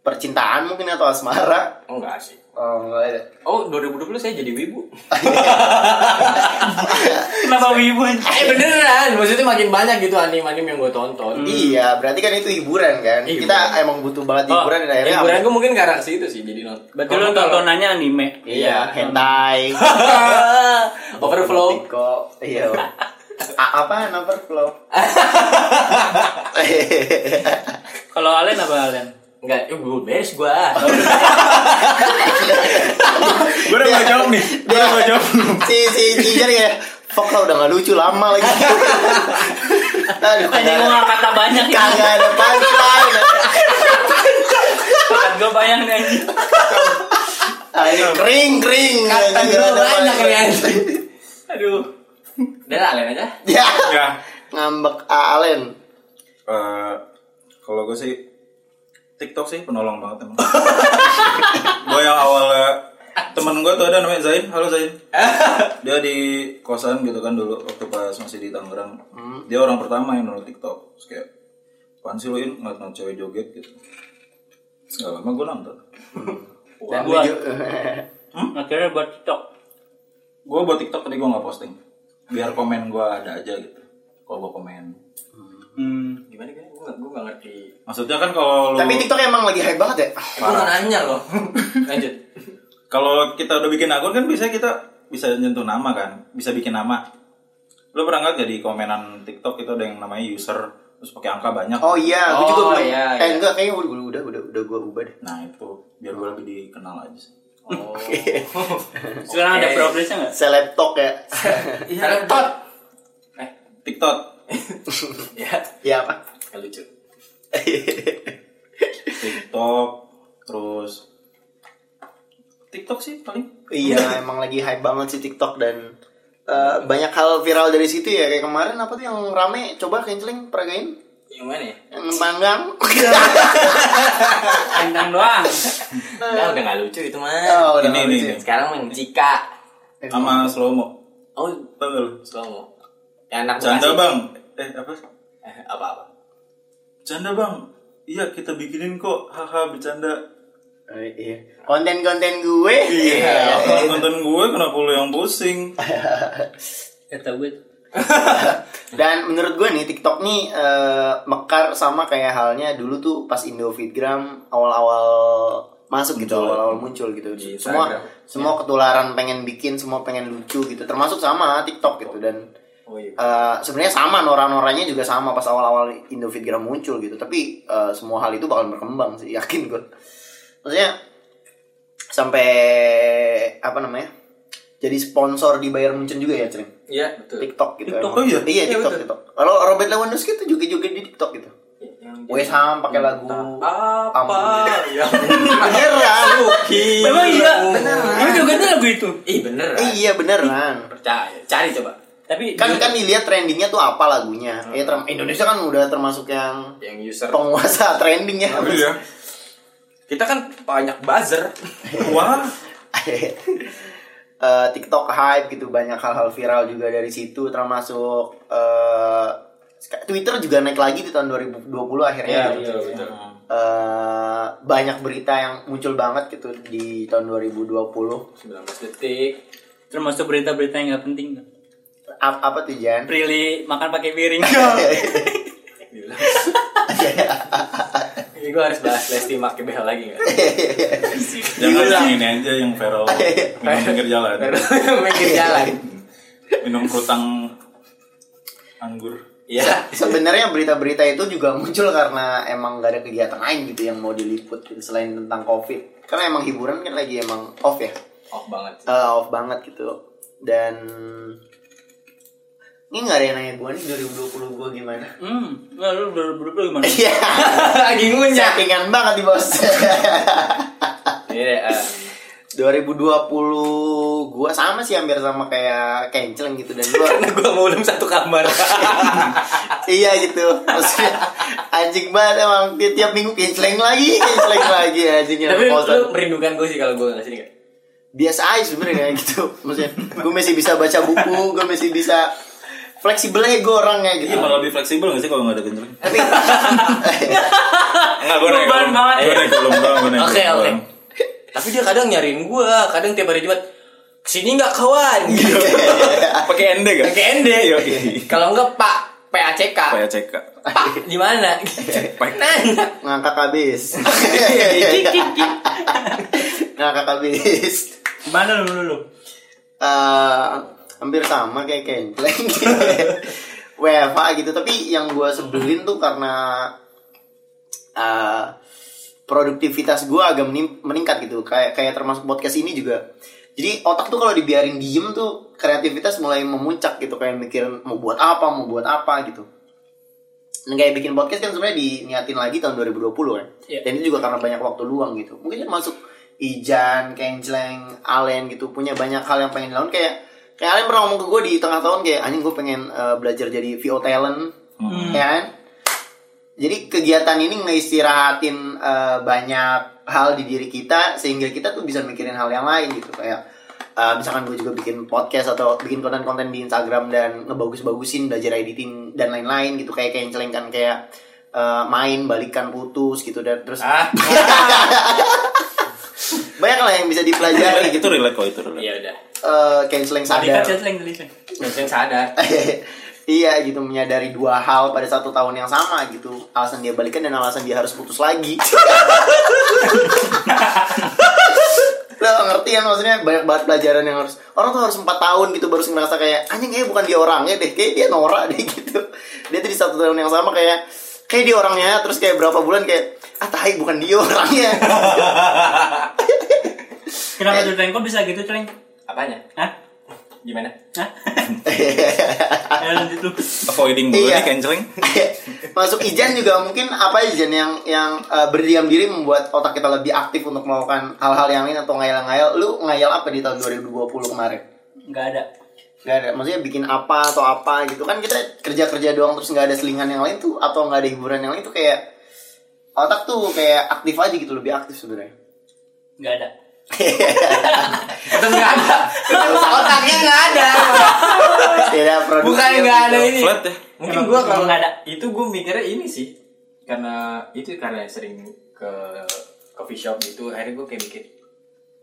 Speaker 1: Percintaan mungkin atau asmara
Speaker 2: enggak sih
Speaker 1: Oh nggak ada
Speaker 2: oh 2020 saya jadi wibu
Speaker 4: Kenapa wibu? anjing?
Speaker 2: eh beneran maksudnya makin banyak gitu anime-anime yang gue tonton
Speaker 1: Iya, berarti kan itu hiburan kan.
Speaker 2: Hiburan.
Speaker 1: Kita emang butuh banget
Speaker 4: Oh,
Speaker 1: hiburan dan akhirnya
Speaker 2: hiburan gue mungkin ke arah situ sih jadi nonton
Speaker 4: Berarti lu tontonannya anime.
Speaker 1: Iya, hentai.
Speaker 2: overflow
Speaker 1: Tiko, iya. A- apa number flow?
Speaker 4: Kalau Alen apa Alen?
Speaker 2: Enggak, ya gue beres gue
Speaker 6: Gue udah mau jawab nih. Gue udah mau jawab.
Speaker 1: si si Cijar ya. Fuck lah udah gak lucu lama lagi. Aduh,
Speaker 4: Anjing
Speaker 1: kagak-
Speaker 4: gua nggak kata banyak ya.
Speaker 1: kagak ada punchline.
Speaker 4: Gue bayang nih. anjing.
Speaker 1: Ayo gitu, kering kering.
Speaker 2: Kata
Speaker 1: Kagak
Speaker 2: gue
Speaker 1: ada
Speaker 2: banyak
Speaker 1: punchline.
Speaker 2: ya
Speaker 4: Aduh.
Speaker 2: Udah lah, lain aja
Speaker 1: Ya.
Speaker 6: Ya.
Speaker 1: Ngambek Alen.
Speaker 6: Eh, Kalau gue sih TikTok sih penolong banget emang. gue yang awalnya temen gue tuh ada namanya Zain, halo Zain. Dia di kosan gitu kan dulu waktu pas masih di Tangerang.
Speaker 2: Hmm.
Speaker 6: Dia orang pertama yang nonton TikTok. Terus kayak, apaan sih lu In? ngeliat-ngeliat cewek joget gitu. Gak lama gue nonton.
Speaker 4: Dan buat
Speaker 1: Iya.
Speaker 4: hmm, akhirnya buat TikTok.
Speaker 6: Gue buat TikTok tadi gue gak posting. Biar komen gue ada aja gitu. Kalau gue komen.
Speaker 4: Hmm.
Speaker 2: Gimana gimana? Gue gue gak ngerti.
Speaker 6: Maksudnya kan kalau lu...
Speaker 1: Tapi TikTok emang lagi hype banget ya.
Speaker 2: Eh, gue gak nanya loh. Lanjut.
Speaker 6: Kalau kita udah bikin akun kan bisa kita bisa nyentuh nama kan, bisa bikin nama. Lo pernah nggak jadi komenan TikTok itu ada yang namanya user terus pakai angka banyak.
Speaker 1: Oh iya, gue
Speaker 2: Oh,
Speaker 1: juga belum.
Speaker 2: iya,
Speaker 1: Eh
Speaker 2: iya.
Speaker 1: enggak, kayaknya udah udah udah udah gue ubah deh.
Speaker 6: Nah itu biar gue lebih dikenal aja sih.
Speaker 2: Oh.
Speaker 4: Sekarang ada
Speaker 2: Oke.
Speaker 4: progresnya nggak?
Speaker 1: Selebtok ya.
Speaker 2: Karena tot. Eh,
Speaker 6: TikTok,
Speaker 2: ya.
Speaker 1: ya apa?
Speaker 2: Gak lucu.
Speaker 6: TikTok, terus TikTok sih paling.
Speaker 1: iya, emang lagi hype banget sih TikTok dan eh, banyak hal viral dari situ ya kayak kemarin apa tuh yang rame coba canceling peragain
Speaker 2: Yang mana ya?
Speaker 1: yang panggang
Speaker 4: Tentang doang.
Speaker 2: Nah, udah gak lucu itu mah.
Speaker 1: oh, udah
Speaker 6: Ini, ini,
Speaker 1: lucu.
Speaker 6: ini.
Speaker 2: Sekarang main cika.
Speaker 6: Sama slowmo.
Speaker 2: Oh,
Speaker 6: Tau gak lu?
Speaker 2: slow Ya anak
Speaker 6: Canda
Speaker 2: Bekasi.
Speaker 6: bang. Eh apa?
Speaker 2: Eh, apa-apa.
Speaker 6: Canda bang. Iya kita bikinin kok. Haha bercanda.
Speaker 1: Eh, iya. konten-konten gue
Speaker 6: Iya. Kalau nonton gue kenapa lu yang pusing?
Speaker 4: Kata gue.
Speaker 1: Dan menurut gue nih TikTok nih eh, mekar sama kayak halnya dulu tuh pas Indo Feedgram awal-awal masuk gitu,
Speaker 6: Muncul.
Speaker 1: awal-awal muncul gitu.
Speaker 2: ya. Di
Speaker 1: semua
Speaker 2: Instagram. Iya.
Speaker 1: semua ketularan pengen bikin, semua pengen lucu gitu. Termasuk sama TikTok gitu dan
Speaker 2: Oh iya.
Speaker 1: eh, sebenarnya sama noran-norannya juga sama pas awal-awal Indo Feedgram muncul gitu. Tapi eh, semua hal itu bakal berkembang sih, yakin gue. Maksudnya sampai apa namanya? Jadi sponsor di Bayern Munchen juga ya, Cering?
Speaker 2: Iya, betul.
Speaker 1: TikTok gitu.
Speaker 6: TikTok,
Speaker 1: emang.
Speaker 6: oh iya?
Speaker 1: Iya,
Speaker 2: Iya,
Speaker 1: TikTok,
Speaker 2: betul.
Speaker 1: TikTok. Kalau Robert Lewandowski itu joget-joget di TikTok gitu.
Speaker 2: Ya,
Speaker 1: Wes Ham pakai
Speaker 2: Iya.
Speaker 1: lagu
Speaker 2: Ah. apa ya
Speaker 1: beneran.
Speaker 4: Emang iya.
Speaker 1: Beneran.
Speaker 4: Gue juga tuh lagu itu.
Speaker 2: ih bener
Speaker 1: Eh, iya beneran.
Speaker 2: percaya cari coba
Speaker 4: Tapi
Speaker 1: Kan kan dilihat trendingnya tuh apa lagunya. Ya, term- Indonesia kan udah termasuk yang
Speaker 2: yang user
Speaker 1: penguasa trending ya.
Speaker 2: kita kan banyak buzzer
Speaker 6: Wah.
Speaker 1: Eh, TikTok hype gitu banyak hal-hal viral juga dari situ termasuk eh, Twitter juga naik lagi di tahun 2020 akhirnya.
Speaker 2: Iya,
Speaker 1: gitu.
Speaker 2: betul
Speaker 1: eh banyak berita yang muncul banget gitu di tahun 2020
Speaker 2: 19 detik
Speaker 4: termasuk berita-berita yang nggak penting.
Speaker 1: Ap- apa tuh Jan?
Speaker 4: Prilly makan pakai piring.
Speaker 2: bilang ini gue harus bahas Lesti make behel lagi nggak
Speaker 6: Jangan yang ini aja yang viral minum pinggir jalan,
Speaker 2: mikir jalan
Speaker 6: minum kutang anggur.
Speaker 2: iya
Speaker 1: Sebenarnya berita-berita itu juga muncul karena emang gak ada kegiatan lain gitu yang mau diliput gitu, selain tentang COVID. Karena emang hiburan kan lagi emang off ya,
Speaker 2: off banget sih.
Speaker 1: Eh, off banget gitu. Dan ini gak ada yang nanya gue nih 2020 gue gimana?
Speaker 4: Hmm, lalu berubah gimana?
Speaker 1: Iya,
Speaker 2: lagi ngunyah
Speaker 1: sakingan banget nih bos.
Speaker 2: ini deh eh,
Speaker 1: 2020 gua sama sih hampir sama kayak kenceling gitu dan gua
Speaker 2: karena gue mau ulum satu kamar
Speaker 1: iya gitu maksudnya anjing banget emang tiap, tiap minggu kenceling lagi kenceling lagi anjingnya
Speaker 2: tapi lu
Speaker 1: Bosan.
Speaker 2: lu merindukan gue sih kalau gue nggak sini nggak
Speaker 1: biasa aja sebenarnya gitu maksudnya gua masih bisa baca buku gua masih bisa fleksibel aja gua orangnya gitu
Speaker 6: Iya malah lebih fleksibel gak sih kalau gak ada kenceng?
Speaker 1: tapi
Speaker 6: Enggak gue
Speaker 4: Beban banget.
Speaker 6: Gue naik belum gue naik.
Speaker 2: Oke, oke.
Speaker 6: gelombang.
Speaker 2: tapi dia kadang nyariin gue kadang tiap hari jumat kesini nggak kawan gitu
Speaker 6: Pakai ND gak?
Speaker 2: pakai ND
Speaker 6: Yoi.
Speaker 2: kalau enggak pak PACK
Speaker 6: Kayak cek Kak.
Speaker 2: Iya, pak di mana gitu nanya
Speaker 1: ngangkat habis Iya, ngangkat habis
Speaker 4: Gimana lu lu? lu?
Speaker 1: eh hampir sama kayak Kentleng WFH gitu tapi yang gue sebelin tuh karena eh, produktivitas gue agak menim- meningkat gitu kayak kayak termasuk podcast ini juga jadi otak tuh kalau dibiarin diem tuh kreativitas mulai memuncak gitu kayak mikirin mau buat apa mau buat apa gitu dan kayak bikin podcast kan sebenarnya diniatin lagi tahun 2020 kan
Speaker 4: Iya.
Speaker 1: dan itu juga karena banyak waktu luang gitu mungkin masuk Ijan, Kenjleng, Alen gitu punya banyak hal yang pengen dilakukan kayak kayak Alen pernah ngomong ke gue di tengah tahun kayak anjing gue pengen eh, belajar jadi VO talent ya kan Jadi kegiatan ini ngeistirahatin eh, banyak hal di diri kita sehingga kita tuh bisa mikirin hal yang lain gitu kayak eh, misalkan gue juga bikin podcast atau bikin konten-konten di Instagram dan ngebagus-bagusin belajar editing dan lain-lain gitu kayak kayak celengkan kayak eh, main balikan putus gitu dan terus
Speaker 2: Ah.
Speaker 1: banyak lah yang bisa dipelajari
Speaker 6: itu
Speaker 1: gitu
Speaker 6: relate kok itu relate.
Speaker 2: Iya udah.
Speaker 1: Eh, canceling
Speaker 4: Tadi
Speaker 1: sadar
Speaker 4: kan settling tadi settling.
Speaker 2: Yang sadar.
Speaker 1: iya gitu menyadari dua hal pada satu tahun yang sama gitu alasan dia balikan dan alasan dia harus putus lagi lo ngerti kan maksudnya banyak banget pelajaran yang harus orang tuh harus empat tahun gitu baru ngerasa kayak anjing kayaknya bukan dia orangnya deh kayak dia norak deh gitu dia tuh di satu tahun yang sama kayak kayak dia orangnya terus kayak berapa bulan kayak ah tai bukan dia orangnya
Speaker 4: Kenapa tuh Treng? Kok bisa gitu Treng?
Speaker 2: Apanya?
Speaker 4: Hah?
Speaker 2: Gimana?
Speaker 4: Hah? Ayo lanjut lu.
Speaker 6: Avoiding dulu
Speaker 1: Iya.
Speaker 6: nih canceling.
Speaker 1: masuk ijan juga mungkin apa ijan yang yang eh, berdiam diri membuat otak kita lebih aktif untuk melakukan hal-hal yang lain atau ngayal-ngayal lu ngayal apa di tahun 2020 kemarin
Speaker 4: Nggak ada.
Speaker 1: nggak ada maksudnya bikin apa atau apa gitu kan kita kerja-kerja doang terus nggak ada selingan yang lain tuh atau nggak ada hiburan yang lain tuh kayak otak tuh kayak aktif aja gitu lebih aktif sebenarnya
Speaker 4: Nggak ada.
Speaker 2: Tetap nggak ada.
Speaker 1: otaknya nggak ada tidak produktif
Speaker 2: Bukan nggak ada
Speaker 1: gitu.
Speaker 2: ini.
Speaker 6: Flat ya.
Speaker 2: Mungkin gua
Speaker 4: Emang
Speaker 2: kalau
Speaker 4: nggak ada.
Speaker 2: iya. itu gua mikirnya ini sih. Karena itu karena sering ke coffee shop gitu, akhirnya gua kayak mikir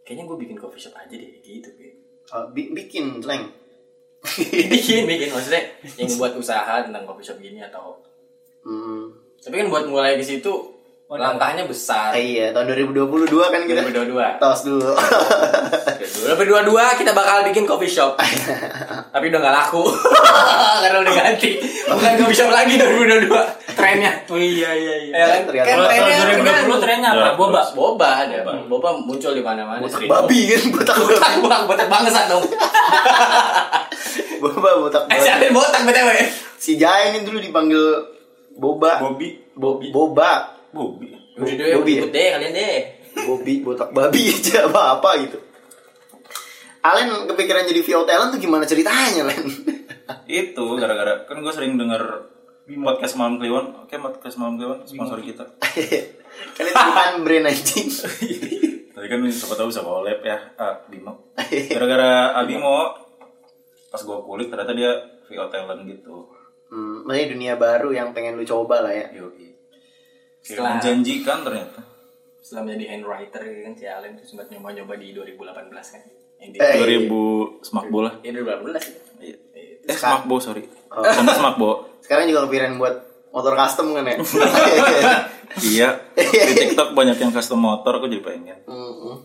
Speaker 2: kayaknya gua bikin coffee shop aja deh gitu kayak.
Speaker 1: Oh, bi- bikin leng
Speaker 2: bikin bikin maksudnya yang buat usaha tentang coffee shop gini atau
Speaker 1: hmm.
Speaker 2: tapi kan buat mulai ke situ langkahnya besar
Speaker 1: iya tahun 2022 kan kita
Speaker 2: 2022
Speaker 1: tos dulu
Speaker 2: berdua dua kita bakal bikin coffee shop tapi udah nggak laku karena udah ganti bukan coffee shop lagi 2022 trennya
Speaker 4: Oh iya iya iya.
Speaker 2: ya kan
Speaker 1: Ternyata.
Speaker 2: kan
Speaker 4: Kalau
Speaker 1: trennya
Speaker 2: trennya trennya
Speaker 4: kalau 2020 trennya apa?
Speaker 6: Ya,
Speaker 4: Boba.
Speaker 2: boba ada boba muncul di mana mana
Speaker 1: botak babi kan botak babi
Speaker 2: botak botak botak bangsa dong
Speaker 1: boba botak
Speaker 2: eh
Speaker 1: babi
Speaker 2: siapa yang botak btw
Speaker 1: si Jaya ini dulu dipanggil boba
Speaker 6: Bobby.
Speaker 1: Bo- boba
Speaker 6: Bobby.
Speaker 2: udah deh
Speaker 1: Bobi ya?
Speaker 2: ribut deh kalian deh
Speaker 1: bobi botak babi aja apa apa gitu Alen kepikiran jadi VO talent tuh gimana ceritanya Len
Speaker 6: Itu gara-gara kan gue sering denger podcast malam Kliwon. Oke, podcast malam Kliwon sponsor kita.
Speaker 1: kan itu bukan brand anjing
Speaker 6: Tapi kan siapa tahu bisa collab ya, ah, Bimo. Gara-gara Abimo pas gue kulik ternyata dia VO talent gitu.
Speaker 1: hmm, maksudnya dunia baru yang pengen lu coba lah ya
Speaker 6: Yoi.
Speaker 2: Setelah-
Speaker 6: Menjanjikan kan ternyata.
Speaker 2: setelah menjadi handwriter gitu kan si Allen tuh sempat nyoba-nyoba di 2018 kan yang di
Speaker 1: Eh.
Speaker 6: 2000 semak bola.
Speaker 2: ya 2018 ya
Speaker 6: Iya. Eh, semak bo, sorry. Oh. semak bo.
Speaker 1: sekarang juga kepikiran buat motor custom kan ya
Speaker 6: Iya. Di TikTok banyak yang custom motor, aku jadi pengen.
Speaker 1: Mm-mm.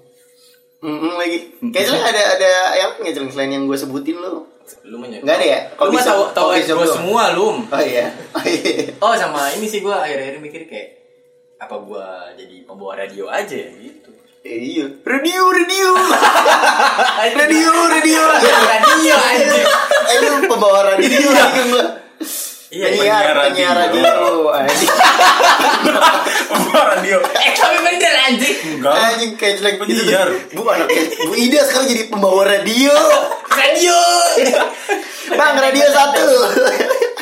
Speaker 1: Mm-mm lagi kayaknya ada ada yang nggak Celeng, selain yang gue sebutin lu
Speaker 2: lu menyebut
Speaker 1: Nggak ada ya?
Speaker 2: lu mah
Speaker 1: Coffee
Speaker 2: tahu
Speaker 1: shop-
Speaker 2: tahu
Speaker 1: coffee shop
Speaker 2: gue
Speaker 1: doang.
Speaker 2: semua lum
Speaker 1: oh iya oh iya
Speaker 2: oh sama ini sih gue akhir-akhir mikir kayak apa gua jadi pembawa radio aja ya gitu
Speaker 1: Eh, iya radio radio radio radio
Speaker 2: radio aja
Speaker 1: eh lu pembawa radio lagi lu
Speaker 2: Iya,
Speaker 1: penyiar
Speaker 6: penyiar
Speaker 1: penyiar
Speaker 6: radio.
Speaker 1: radio anjing
Speaker 6: radio.
Speaker 2: eh tapi bener anjing
Speaker 6: Enggak.
Speaker 1: anjing kayak jelek begitu
Speaker 6: Penyiar.
Speaker 1: bu anak bu Ida sekarang jadi pembawa radio
Speaker 2: radio
Speaker 1: bang radio satu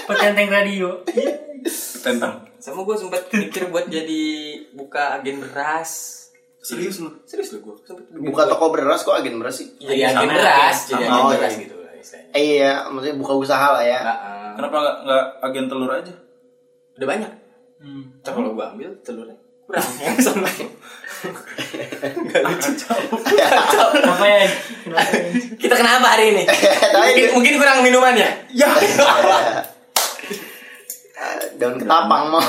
Speaker 4: Petenteng radio.
Speaker 6: Tentang.
Speaker 2: sama gue sempat mikir buat jadi buka agen beras
Speaker 6: Serius lu?
Speaker 2: serius lu gue sempat
Speaker 1: buka toko beras kok agen beras sih
Speaker 2: jadi agen
Speaker 4: Sama.
Speaker 2: beras jadi
Speaker 1: Sama.
Speaker 2: agen
Speaker 1: Oh,
Speaker 2: beras
Speaker 1: iya.
Speaker 2: gitu lah istilahnya
Speaker 1: Eh, iya maksudnya buka usaha lah ya
Speaker 2: Nggak, eh,
Speaker 6: Kenapa enggak enggak agen telur aja?
Speaker 2: udah banyak
Speaker 4: Hmm.
Speaker 2: Ntar kalau gue ambil telurnya kurang yang sama Nggak lucu
Speaker 4: Apa ya? Kenapa ya?
Speaker 2: Kita kenapa hari ini?
Speaker 1: Tapi
Speaker 2: mungkin,
Speaker 1: dia-
Speaker 2: mungkin kurang minumannya? Ya
Speaker 1: Eh, daun ketapang mau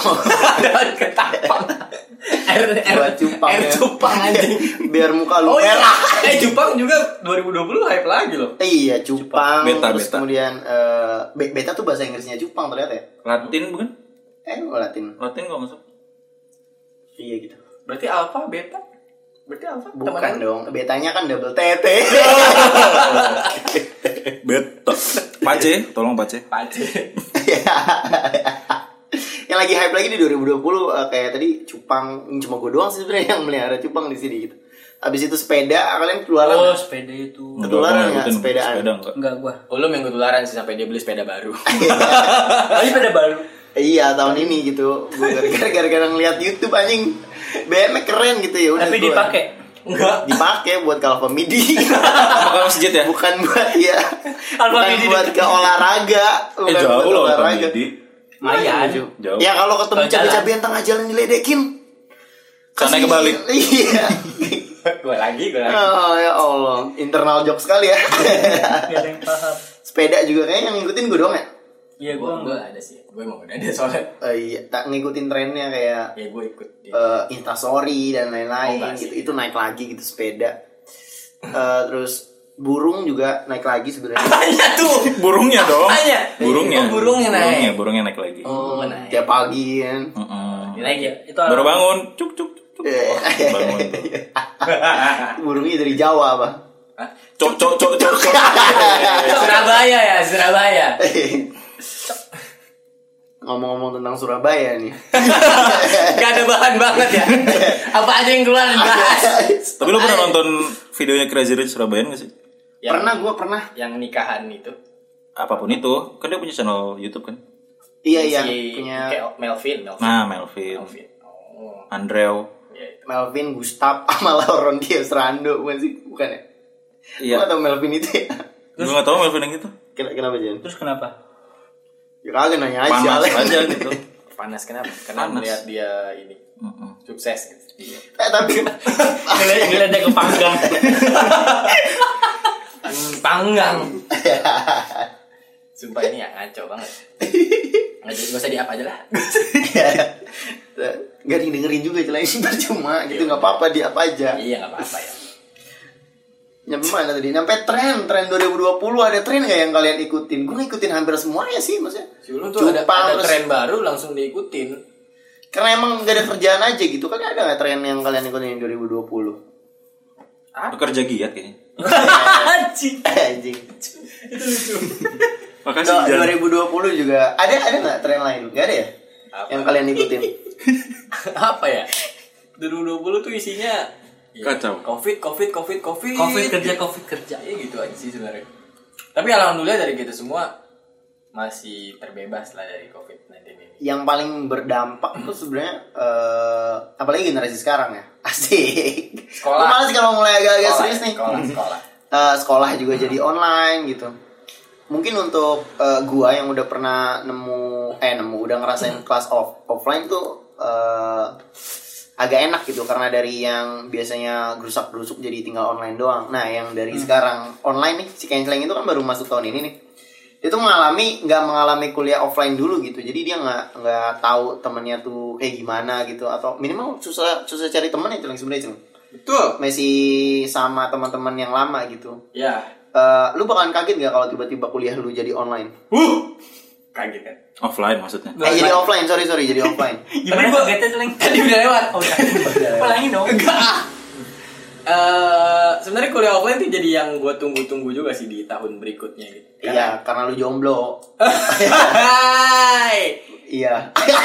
Speaker 2: Daun ketapang Air, air,
Speaker 1: Buat cupang
Speaker 2: air
Speaker 1: ya.
Speaker 2: cupang anjing
Speaker 1: biar muka lu
Speaker 2: Oh iya
Speaker 1: merah
Speaker 2: Eh cupang juga 2020 hype lagi loh
Speaker 1: Iya, cupang.
Speaker 6: Beta,
Speaker 1: terus
Speaker 6: beta.
Speaker 1: Kemudian eh, be- beta tuh bahasa Inggrisnya cupang ternyata ya.
Speaker 6: Latin bukan?
Speaker 1: Eh, gua Latin.
Speaker 6: Latin enggak masuk.
Speaker 1: Iya gitu.
Speaker 2: Berarti alpha, beta Berarti alpha
Speaker 1: Bukan
Speaker 2: temenan.
Speaker 1: dong, betanya kan double TT.
Speaker 6: Eh, Beto. Pace, tolong Pace.
Speaker 2: Pace
Speaker 1: yang lagi hype lagi di 2020 eh, kayak tadi cupang cuma gue doang sih sebenarnya yang melihara cupang di sini gitu. Abis itu sepeda kalian keluaran
Speaker 4: Oh,
Speaker 1: nggak?
Speaker 4: sepeda itu.
Speaker 1: Ketularan
Speaker 6: Enggak, gua
Speaker 1: nggak
Speaker 6: ngikutin
Speaker 1: sepedaan?
Speaker 6: Sepeda enggak.
Speaker 4: Enggak gua.
Speaker 2: Oh lu yang ketularan sih sampai dia beli sepeda baru
Speaker 4: Tapi Ah, sepeda baru.
Speaker 1: Iya tahun ini gitu Gue gara-gara gara-gara ngeliat YouTube anjing BM keren gitu ya udah
Speaker 4: Tapi
Speaker 1: gua-
Speaker 4: dipakai.
Speaker 2: Enggak.
Speaker 1: dipakai buat ke alpha midi
Speaker 6: Bakal masjid ya?
Speaker 1: bukan buat ya
Speaker 4: Alpha
Speaker 1: bukan
Speaker 4: Midi
Speaker 1: buat ke olahraga
Speaker 6: Eh
Speaker 1: bukan
Speaker 6: jauh
Speaker 1: buat
Speaker 6: loh Alpha
Speaker 1: olahraga.
Speaker 6: Midi. Iya,
Speaker 4: Lumayan.
Speaker 6: Jauh.
Speaker 1: ya kalau ketemu
Speaker 4: Kalau jalan.
Speaker 1: cabe-cabean tengah jalan diledekin
Speaker 6: Sana
Speaker 1: Kasihin.
Speaker 6: kebalik.
Speaker 1: iya
Speaker 2: Gue lagi, gue lagi.
Speaker 1: oh ya allah internal joke sekali ya
Speaker 4: Gak ada yang paham.
Speaker 1: sepeda juga kayaknya yang ngikutin gue doang ya
Speaker 4: Iya
Speaker 2: Gue
Speaker 4: gue
Speaker 2: gue ada sih. Gue emang udah ada soalnya.
Speaker 1: Eh, iya tak ngikutin trennya kayak
Speaker 2: Ya gue ikut. dia.
Speaker 1: eh instastory dan lain-lain
Speaker 2: Oh, enggak
Speaker 1: gitu
Speaker 2: sih.
Speaker 1: itu naik lagi gitu sepeda Eh, terus burung juga naik lagi sebenarnya
Speaker 2: Tanya tuh.
Speaker 6: Burungnya dong.
Speaker 2: Apanya?
Speaker 6: Burungnya.
Speaker 2: Oh, burungnya naik.
Speaker 6: Burungnya, burungnya naik lagi.
Speaker 1: Oh,
Speaker 2: naik.
Speaker 1: tiap pagi kan
Speaker 6: Mm-mm.
Speaker 2: Ini lagi ya.
Speaker 4: Itu orang
Speaker 6: Baru bangun. Cuk cuk cuk. cuk.
Speaker 1: Eh.
Speaker 6: Bangun.
Speaker 1: burungnya dari Jawa apa
Speaker 6: Cuk cuk cuk cuk. cuk.
Speaker 2: Surabaya ya, Surabaya.
Speaker 1: ngomong-ngomong tentang Surabaya nih
Speaker 2: Gak ada bahan banget ya. Apa aja yang keluar dibahas.
Speaker 6: Tapi lu pernah nonton videonya Crazy Rich Surabaya nggak sih?
Speaker 2: Yang-
Speaker 1: pernah gue pernah
Speaker 2: Yang nikahan itu.
Speaker 6: Apapun itu, kan dia punya channel YouTube kan?
Speaker 1: iya iya
Speaker 2: Si
Speaker 1: punya
Speaker 2: Ke- Melvin, Melvin.
Speaker 6: Nah, Melvin,
Speaker 2: Melvin. Oh,
Speaker 6: Andreo.
Speaker 2: ya itu.
Speaker 1: Melvin Gustaf sama Lauren Dias Rando bukan sih bukan ya
Speaker 6: Iya.
Speaker 1: Gua nggak tahu Melvin itu ya
Speaker 6: Gue gak tau Melvin yang itu.
Speaker 1: Ken- kenapa Jan?
Speaker 4: terus kenapa?
Speaker 1: ya kagak nanya aja
Speaker 6: Panas
Speaker 1: Alen.
Speaker 6: aja gitu.
Speaker 2: Panas kenapa? Karena
Speaker 6: Panas.
Speaker 2: melihat dia ini
Speaker 6: Mm-mm.
Speaker 2: sukses gitu. Iya.
Speaker 1: eh tapi
Speaker 4: Nilai nilai dia kepanggang.
Speaker 2: Hmm, Panggang. Sumpah ini ya ngaco banget. Ngaco, gak usah diap aja lah.
Speaker 1: Iya. Gak didengerin juga selain percuma gitu nggak apa-apa dia apa aja
Speaker 2: iya nggak apa-apa ya.
Speaker 1: Nyampe mana tadi? Nyampe tren, tren 2020 ada tren nggak yang kalian ikutin? Gue ngikutin hampir semuanya sih maksudnya.
Speaker 2: Dulu tuh ada,
Speaker 1: Cupang,
Speaker 2: ada
Speaker 1: terus-
Speaker 2: tren baru langsung diikutin.
Speaker 1: Karena emang gak ada kerjaan aja gitu. Kan ada nggak tren yang kalian ikutin yang 2020?
Speaker 6: Bekerja giat kayaknya.
Speaker 4: Anjing.
Speaker 1: Anjing.
Speaker 6: Makasih
Speaker 1: Kalau
Speaker 6: Jan.
Speaker 1: 2020 juga ada ada nggak tren lain? Gak ada ya?
Speaker 2: Apa?
Speaker 1: Yang kalian ikutin?
Speaker 2: apa ya? 2020 tuh isinya ya,
Speaker 6: Kacau.
Speaker 2: Covid, covid, covid, covid.
Speaker 4: Covid kerja, covid kerja.
Speaker 2: Iya gitu aja sih sebenarnya. Tapi alhamdulillah dari kita semua masih terbebas lah dari covid-19 ini.
Speaker 1: Yang paling berdampak tuh sebenarnya eh apalagi generasi sekarang ya. Asik. Gue
Speaker 2: Sekolah.
Speaker 1: males kalau mulai agak-agak
Speaker 2: Sekolah,
Speaker 1: serius nih.
Speaker 2: Sekolah, sekolah. Hmm.
Speaker 1: Eh, sekolah juga jadi online gitu. Mungkin untuk eh, gua yang udah pernah nemu eh nemu udah
Speaker 2: Hmm.
Speaker 1: ngerasain kelas off offline tuh eh, agak enak gitu karena dari yang biasanya gerusak gerusuk jadi tinggal online doang. Nah yang dari
Speaker 2: Hmm.
Speaker 1: sekarang online nih si canceling itu kan baru masuk tahun ini nih. Dia tuh mengalami nggak mengalami kuliah offline dulu gitu. Jadi dia nggak nggak tahu temennya tuh kayak gimana gitu atau minimal susah susah cari temen ya Celeng, sebenarnya Celeng.
Speaker 2: Betul.
Speaker 1: Messi sama teman-teman yang lama gitu.
Speaker 2: Ya.
Speaker 1: Eh, lu bakalan kaget gak kalau tiba-tiba kuliah lu jadi online?
Speaker 2: Huh. Kaget kan.
Speaker 6: Offline maksudnya.
Speaker 1: Eh, jadi offline, sorry sorry, jadi offline.
Speaker 4: Gimana
Speaker 2: gua-
Speaker 4: kagetnya Celeng?
Speaker 2: Tadi udah lewat. iya.
Speaker 4: Oh, udah. Pelangi dong.
Speaker 2: Enggak. ah. Eh, sebenarnya kuliah offline tuh jadi yang gue tunggu-tunggu juga sih di tahun berikutnya gitu.
Speaker 1: Iya, karena lu jomblo.
Speaker 2: Hai.
Speaker 1: Iya.
Speaker 2: Iya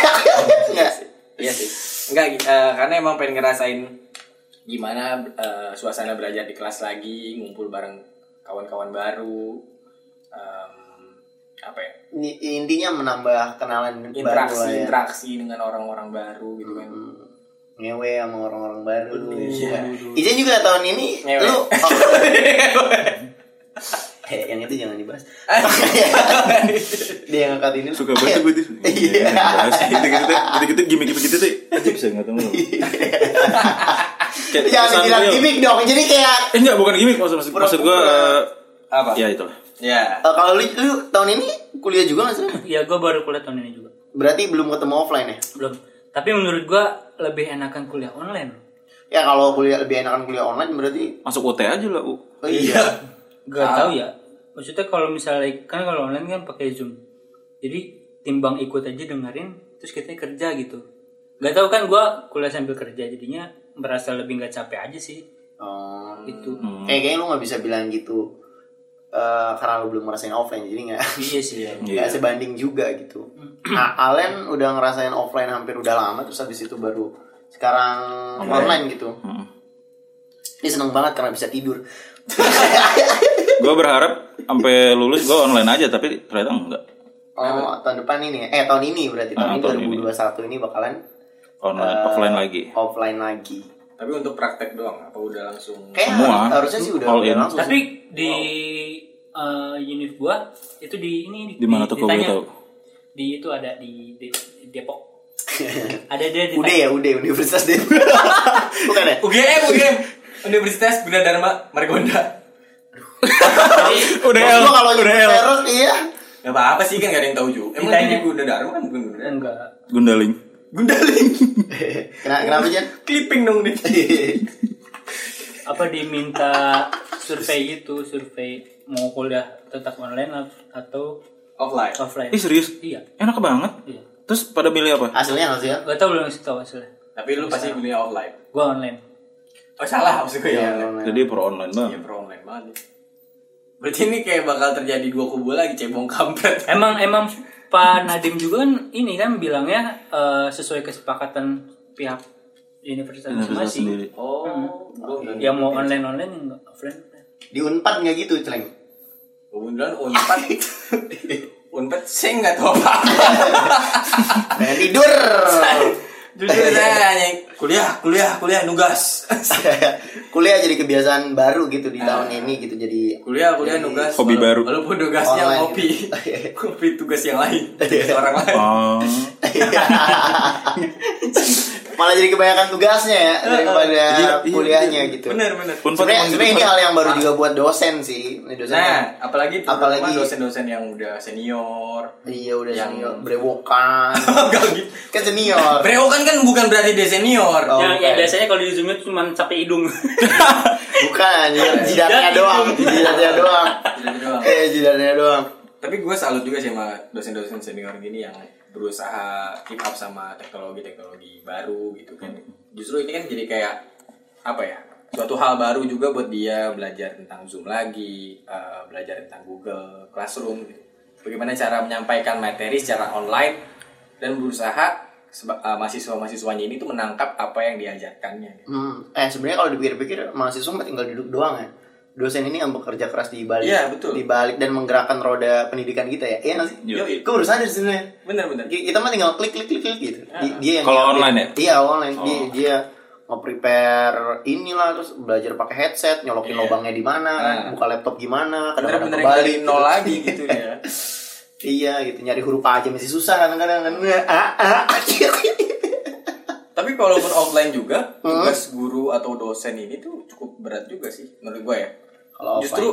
Speaker 1: Nggak.
Speaker 2: sih. Iya sih. Enggak eh, karena emang pengen ngerasain gimana eh, suasana belajar di kelas lagi, ngumpul bareng kawan-kawan baru. Em, apa ya?
Speaker 1: Ini- Intinya menambah kenalan baru
Speaker 2: Interaksi,
Speaker 1: lah ya.
Speaker 2: interaksi dengan orang-orang baru gitu kan.
Speaker 1: Hmm. Ngewe sama orang-orang baru.
Speaker 2: Iya.
Speaker 1: Ijen juga tahun ini
Speaker 2: Ngewe.
Speaker 1: lu oh. Eh, yang itu jangan dibahas. Dia yang ngangkat ini.
Speaker 6: Suka banget gue tuh.
Speaker 1: Iya.
Speaker 6: Gitu-gitu gitu-gitu gimmick gitu tuh. Aja bisa enggak tahu. Kayak
Speaker 1: Jangan
Speaker 6: pesan
Speaker 1: Iya, dibilang
Speaker 6: real.
Speaker 1: gimmick dong. Jadi kayak
Speaker 6: Eh enggak bukan gimmick maksud maksud, maksud gue
Speaker 2: Apa?
Speaker 6: ya itulah.
Speaker 2: Ya.
Speaker 1: Eh, kalau lu, lu tahun ini kuliah juga nggak sih?
Speaker 4: Iya gue baru kuliah tahun ini juga.
Speaker 1: Berarti belum ketemu offline ya?
Speaker 4: Belum. Tapi menurut gue lebih enakan kuliah online.
Speaker 1: Ya kalau kuliah lebih enakan kuliah online berarti
Speaker 6: Masuk UT aja lah. U.
Speaker 1: oh, iya.
Speaker 4: Gak tahu ya. Maksudnya kalau misalnya kan kalau online kan pakai zoom. Jadi timbang ikut aja dengerin terus kita kerja gitu. Gak tahu kan gue kuliah sambil kerja jadinya merasa lebih nggak capek aja sih Gitu.
Speaker 1: Oh.
Speaker 4: itu.
Speaker 6: Hmm.
Speaker 1: Kayak kayaknya lu nggak bisa bilang gitu eh, karena lu belum ngerasain offline jadi nggak
Speaker 4: Iya sih. Ya.
Speaker 1: nggak sebanding juga gitu. Nah, Alen udah ngerasain offline hampir udah lama terus habis itu baru sekarang online gitu.
Speaker 6: Mm.
Speaker 1: Ini seneng banget karena bisa tidur.
Speaker 6: Gue berharap sampai lulus gue online aja tapi ternyata enggak.
Speaker 1: Oh, tahun depan ini ya? Eh, tahun ini berarti.
Speaker 6: Ah,
Speaker 1: Tahun
Speaker 6: tahun
Speaker 1: ini 2021 ini bakalan
Speaker 6: Online,
Speaker 1: eh,
Speaker 6: offline lagi.
Speaker 1: Offline lagi.
Speaker 2: Tapi untuk praktek doang, apa udah langsung?
Speaker 1: Kayak
Speaker 6: Semua.
Speaker 1: har- harusnya sih udah,
Speaker 6: All
Speaker 1: udah
Speaker 6: in.
Speaker 1: langsung.
Speaker 4: Tapi
Speaker 1: sih.
Speaker 4: di eh, unit gua itu di ini
Speaker 6: Di mana tuh gua
Speaker 4: ditanya.
Speaker 6: boleh tahu?
Speaker 4: Di itu ada di, di- di Depok. ada dia
Speaker 2: Iya.
Speaker 4: di
Speaker 1: Udah ya, udah Universitas deh. Bukan ya?
Speaker 2: UGM, UGM. Universitas Bina Dharma Margonda.
Speaker 6: Udah
Speaker 1: Maksud
Speaker 6: L,
Speaker 1: gua kalau nyebut
Speaker 6: udah L.
Speaker 1: merek iya.
Speaker 2: Gak apa-apa sih kan gak ada yang tahu juga. Emang dia
Speaker 4: Ditanya.
Speaker 2: di Bina Dharma kan bukan Bina Dharma.
Speaker 4: enggak.
Speaker 6: Gundaling.
Speaker 2: Gundaling.
Speaker 1: Kenapa, kenapa Jan?
Speaker 2: Clipping dong nih.
Speaker 4: Apa diminta survei itu, survei mau kuliah tetap online atau
Speaker 2: Offline.
Speaker 4: offline.
Speaker 6: Ih serius,
Speaker 4: Iya,
Speaker 6: enak banget.
Speaker 4: iya.
Speaker 6: Terus pada milih apa?
Speaker 1: Hasilnya hasilnya.
Speaker 4: Gak tau belum ngasih tau hasilnya.
Speaker 2: Tapi lu pasti kuliah offline.
Speaker 4: Gua online.
Speaker 2: Oh salah
Speaker 1: Iya.
Speaker 2: maksud gue ya. online.
Speaker 6: Jadi pro online
Speaker 2: Iya
Speaker 6: banget.
Speaker 2: pro online banget. ya. Berarti ini kayak bakal terjadi dua kubu lagi cebong kampret.
Speaker 4: Emang emang Pak Nadim juga kan ini kan bilangnya eh, sesuai kesepakatan pihak universitas
Speaker 1: Iya.
Speaker 6: Universitas sendiri.
Speaker 4: masing-masing.
Speaker 2: Oh,
Speaker 4: Yang mau online online yang nggak offline.
Speaker 1: Di Unpad nggak gitu, Celeng.
Speaker 2: Kemudian unpad. unpad saya nggak tahu apa-apa.
Speaker 1: Pengen tidur.
Speaker 2: Jujur saya hanya kuliah, kuliah, kuliah nugas.
Speaker 1: kuliah jadi kebiasaan baru gitu di
Speaker 2: Ah.
Speaker 1: tahun ini gitu jadi
Speaker 2: kuliah, kuliah nugas. wala-
Speaker 6: Hobi baru.
Speaker 2: Walaupun nugasnya
Speaker 1: Online. gitu. Iya.
Speaker 2: kopi. kopi tugas yang lain. Tugas orang
Speaker 1: Eh.
Speaker 2: lain.
Speaker 6: Oh,
Speaker 1: malah jadi kebanyakan tugasnya ya
Speaker 2: Ah,
Speaker 1: daripada kuliahnya gitu.
Speaker 2: Iya, Bener, bener.
Speaker 6: pun
Speaker 1: Sebenarnya
Speaker 6: emang gitu.
Speaker 1: sebenarnya ini hal yang baru juga buat dosen sih. Ini dosen yang-
Speaker 2: Ah. Nah, apalagi
Speaker 1: kan Apalagi-
Speaker 2: terutama dosen-dosen yang udah senior.
Speaker 1: iya udah
Speaker 2: yang-
Speaker 1: senior brewokan.
Speaker 2: Gak gitu.
Speaker 1: kan senior.
Speaker 2: Breo kan kan bukan berarti dia senior.
Speaker 1: Oh,
Speaker 4: yang, yang
Speaker 1: bukan.
Speaker 4: Ya, biasanya kalau di zoom itu cuma sampai hidung.
Speaker 1: Bukan, jidat- jidatnya
Speaker 2: gitu.
Speaker 1: doang, jidatnya doang.
Speaker 2: Jadi Gitu doang.
Speaker 1: Eh, jidatnya doang.
Speaker 2: Tapi gue salut juga sih sama dosen-dosen senior gini yang berusaha keep up sama teknologi-teknologi baru gitu kan. Justru ini kan jadi kayak apa ya? Suatu hal baru juga buat dia belajar tentang Zoom lagi, eh, belajar tentang Google Classroom gitu. Bagaimana cara menyampaikan materi secara online dan berusaha seba- eh, mahasiswa-mahasiswanya ini tuh menangkap apa yang diajarkannya.
Speaker 1: Hmm. Eh, sebenarnya kalau dipikir-pikir mahasiswa mah tinggal duduk doang ya. Dosen ini yang bekerja keras di balik,
Speaker 2: Iya, betul.
Speaker 1: di balik dan menggerakkan roda pendidikan kita ya. Iya nggak sih?
Speaker 6: Iya.
Speaker 1: Gue baru sadar sebenarnya.
Speaker 2: Bener-bener.
Speaker 1: Ki- Kita mah tinggal klik klik klik klik gitu.
Speaker 2: Ah.
Speaker 1: Di- Dia yang
Speaker 6: Kalau online ya?
Speaker 1: Iya, online. Dia dia nge-prepare inilah terus belajar pakai headset, nyolokin lobangnya di mana, buka laptop gimana, kadang-kadang
Speaker 2: Iya. Ah. Bener-bener yang dari
Speaker 1: kebalik
Speaker 2: nol
Speaker 1: gitu.
Speaker 2: lagi gitu ya.
Speaker 1: Iya gitu nyari huruf A aja masih susah kadang-kadang kan. Ah, ah.
Speaker 2: Tapi kalaupun offline juga, tugas guru atau dosen ini tuh cukup berat juga sih menurut gue ya.
Speaker 1: Kalau
Speaker 2: Justru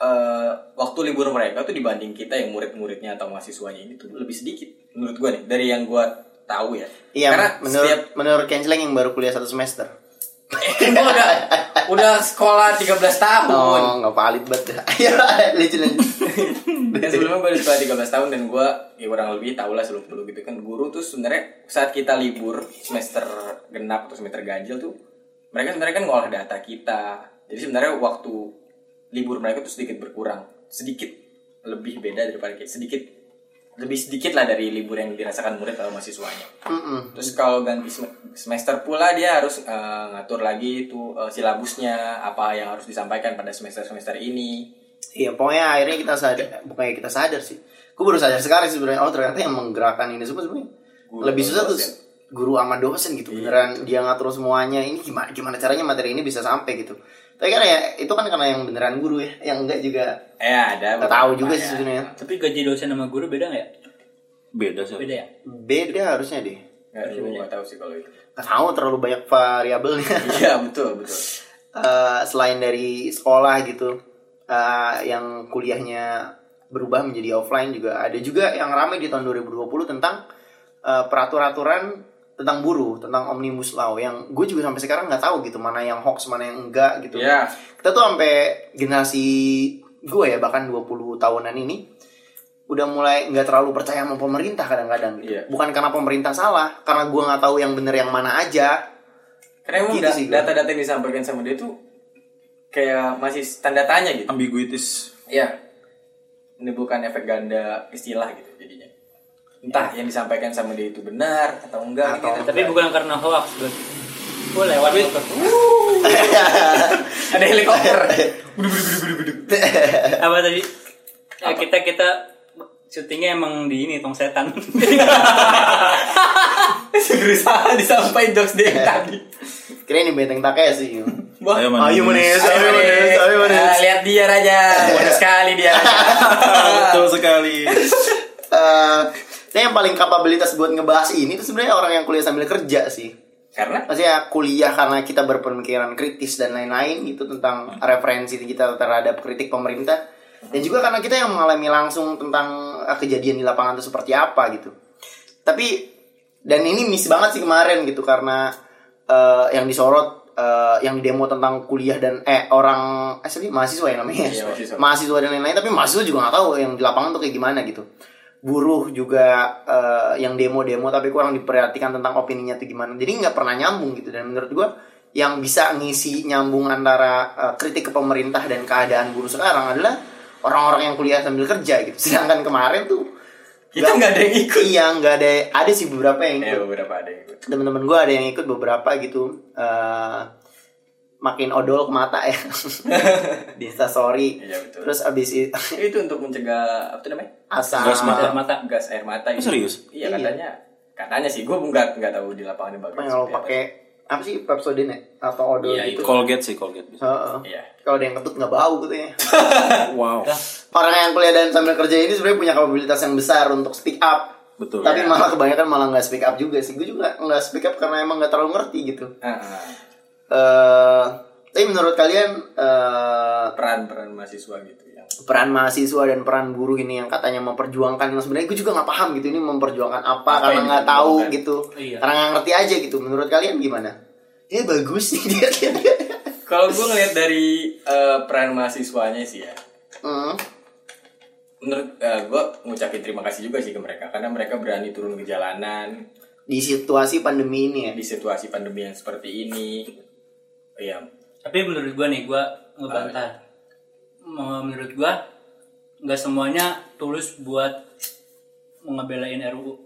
Speaker 2: eh, waktu libur mereka tuh dibanding kita yang murid-muridnya atau mahasiswanya ini tuh lebih sedikit menurut gue nih dari yang gue tahu ya.
Speaker 1: Iya,
Speaker 2: Karena
Speaker 1: menurut
Speaker 2: setiap
Speaker 1: menurut Kenceleng yang baru kuliah satu semester.
Speaker 2: gua udah udah sekolah 13 tahun.
Speaker 1: Oh, nggak valid banget. Iya, lucu lucu.
Speaker 2: Dan sebelumnya gue udah sekolah 13 tahun dan gue ya kurang lebih tau lah sebelum dulu gitu kan guru tuh sebenarnya saat kita libur semester genap atau semester ganjil tuh mereka sebenarnya kan ngolah data kita jadi sebenarnya waktu libur mereka tuh sedikit berkurang sedikit lebih beda daripada kita sedikit lebih sedikit lah dari libur yang dirasakan murid atau mahasiswanya
Speaker 1: Mm-mm.
Speaker 2: terus kalau ganti sem- semester pula dia harus eh, ngatur lagi itu eh, silabusnya apa yang harus disampaikan pada semester semester ini
Speaker 1: Iya, pokoknya akhirnya kita sadar, pokoknya kita sadar sih. Gue baru sadar sekarang sih sebenarnya. Oh, ternyata yang menggerakkan ini semua sebenarnya
Speaker 2: Guru
Speaker 1: lebih
Speaker 2: sama
Speaker 1: susah tuh
Speaker 2: dosen. Iya,
Speaker 1: guru sama dosen gitu. Beneran dia ngatur semuanya. Ini gimana gimana caranya materi ini bisa sampai gitu. Tapi kan ya itu kan karena yang beneran guru ya, yang enggak juga
Speaker 2: eh ada
Speaker 1: nggak tahu juga
Speaker 2: beberapa
Speaker 1: sih
Speaker 2: ya.
Speaker 1: sebenarnya.
Speaker 4: Tapi gaji dosen sama guru beda nggak ya?
Speaker 6: Beda sih.
Speaker 4: Beda ya.
Speaker 1: Beda harusnya deh.
Speaker 2: Nggak, gue nggak tahu sih kalau itu.
Speaker 1: Nggak tahu terlalu banyak variabelnya.
Speaker 2: Iya betul betul.
Speaker 1: Eh, selain dari sekolah gitu eh, yang kuliahnya berubah menjadi offline juga ada juga yang ramai di tahun 2020 tentang eh, peraturan-aturan tentang buruh tentang omnibus law yang gue juga sampai sekarang nggak tahu gitu mana yang hoax mana yang enggak gitu
Speaker 2: Iya.
Speaker 1: kita tuh sampai generasi gue ya bahkan 20 tahunan ini udah mulai nggak terlalu percaya sama pemerintah kadang-kadang gitu.
Speaker 2: Iya.
Speaker 1: bukan karena pemerintah salah karena gue nggak tahu yang bener yang mana aja
Speaker 2: Karena emang
Speaker 1: Gitu
Speaker 2: da-
Speaker 1: sih, gue.
Speaker 2: data-data yang disampaikan sama dia tuh kayak masih tanda tanya gitu.
Speaker 6: Ambiguitis.
Speaker 2: Iya. Menimbulkan efek ganda istilah gitu jadinya. Entah yang disampaikan sama dia itu benar atau enggak.
Speaker 1: Iya. Atau-
Speaker 2: gitu.
Speaker 4: Eh, Tapi bukan karena hoax berarti. Gua lewat Wuh.
Speaker 2: ada helikopter.
Speaker 4: apa tadi? Eh, Ya, kita kita syutingnya emang di ini tong setan
Speaker 2: berusaha disampaikan jokes dia yang tadi
Speaker 1: Kira ini benteng Takeshi.
Speaker 6: Ayo manis.
Speaker 1: Ayo manis, ayo
Speaker 2: Ayo,
Speaker 1: manis, ayo
Speaker 2: Manis.
Speaker 1: manis.
Speaker 2: Ah, lihat dia raja bodoh sekali dia Raja.
Speaker 6: Betul sekali.
Speaker 1: Eh, saya yang paling kapabilitas buat ngebahas ini itu sebenarnya orang yang kuliah sambil kerja sih.
Speaker 2: karena
Speaker 1: Maksudnya kuliah karena kita berpemikiran kritis dan lain-lain gitu tentang
Speaker 2: Hmm.
Speaker 1: referensi kita terhadap kritik pemerintah dan juga karena kita yang mengalami langsung tentang eh, kejadian di lapangan itu seperti apa gitu. Tapi dan ini miss banget sih kemarin gitu karena eh, yang disorot eh, yang demo tentang kuliah dan eh orang eh sorry, mahasiswa yang namanya
Speaker 2: Iya, mahasiswa.
Speaker 1: mahasiswa dan lain-lain tapi mahasiswa juga nggak tahu yang di lapangan tuh kayak gimana gitu buruh juga eh, yang demo-demo tapi kurang diperhatikan tentang opininya tuh gimana jadi nggak pernah nyambung gitu dan menurut gua yang bisa ngisi nyambung antara eh, kritik ke pemerintah dan keadaan buruh sekarang adalah orang-orang yang kuliah sambil kerja gitu sedangkan kemarin tuh
Speaker 2: kita nggak ada yang ikut
Speaker 1: iya nggak ada ada sih beberapa yang
Speaker 2: ya
Speaker 1: ikut
Speaker 2: beberapa ada yang ikut
Speaker 1: teman-teman gue ada yang ikut beberapa gitu eh makin odol ke mata ya di sorry
Speaker 2: Iya, betul.
Speaker 1: terus abis itu
Speaker 2: itu untuk mencegah apa tuh namanya
Speaker 1: asam
Speaker 6: Gas mata.
Speaker 4: air mata
Speaker 2: gas air mata
Speaker 6: Oh, serius?
Speaker 2: iya
Speaker 1: Iya.
Speaker 2: katanya katanya sih gue nggak nggak tahu di lapangan yang ya.
Speaker 1: apa yang lo pakai apa sih Pepsodent ya? atau odol
Speaker 2: Iya,
Speaker 1: gitu
Speaker 6: Colgate sih Colgate. bisa.
Speaker 1: Heeh.
Speaker 2: iya
Speaker 1: kalau ada yang ketut nggak bau gitu ya
Speaker 6: Wow.
Speaker 1: orang yang kuliah dan sambil kerja ini sebenarnya punya kapabilitas yang besar untuk speak up
Speaker 6: Betul.
Speaker 1: tapi malah kebanyakan malah nggak speak up juga sih gue juga nggak speak up karena emang nggak terlalu ngerti gitu
Speaker 2: Ah, ah.
Speaker 1: eh tapi menurut kalian eh
Speaker 2: peran peran mahasiswa gitu yang
Speaker 1: peran mahasiswa dan peran buruh ini yang katanya memperjuangkan yang sebenarnya gue juga nggak paham gitu ini memperjuangkan apa
Speaker 2: Apa
Speaker 1: karena
Speaker 2: yang
Speaker 1: nggak tahu
Speaker 2: diperjuangkan?
Speaker 1: gitu
Speaker 4: Iya.
Speaker 1: karena nggak ngerti aja gitu menurut kalian gimana ya bagus sih dia dia- dia.
Speaker 2: kalau gue ngeliat dari eh, peran mahasiswanya sih ya
Speaker 1: Hmm.
Speaker 2: menurut gue ngucapin terima kasih juga sih ke mereka karena mereka berani turun ke jalanan
Speaker 1: di situasi pandemi ini ya
Speaker 2: di situasi pandemi yang seperti ini ya
Speaker 4: tapi menurut gua nih gua ngebantah Mau- menurut gua nggak semuanya tulus buat ngebelain RUU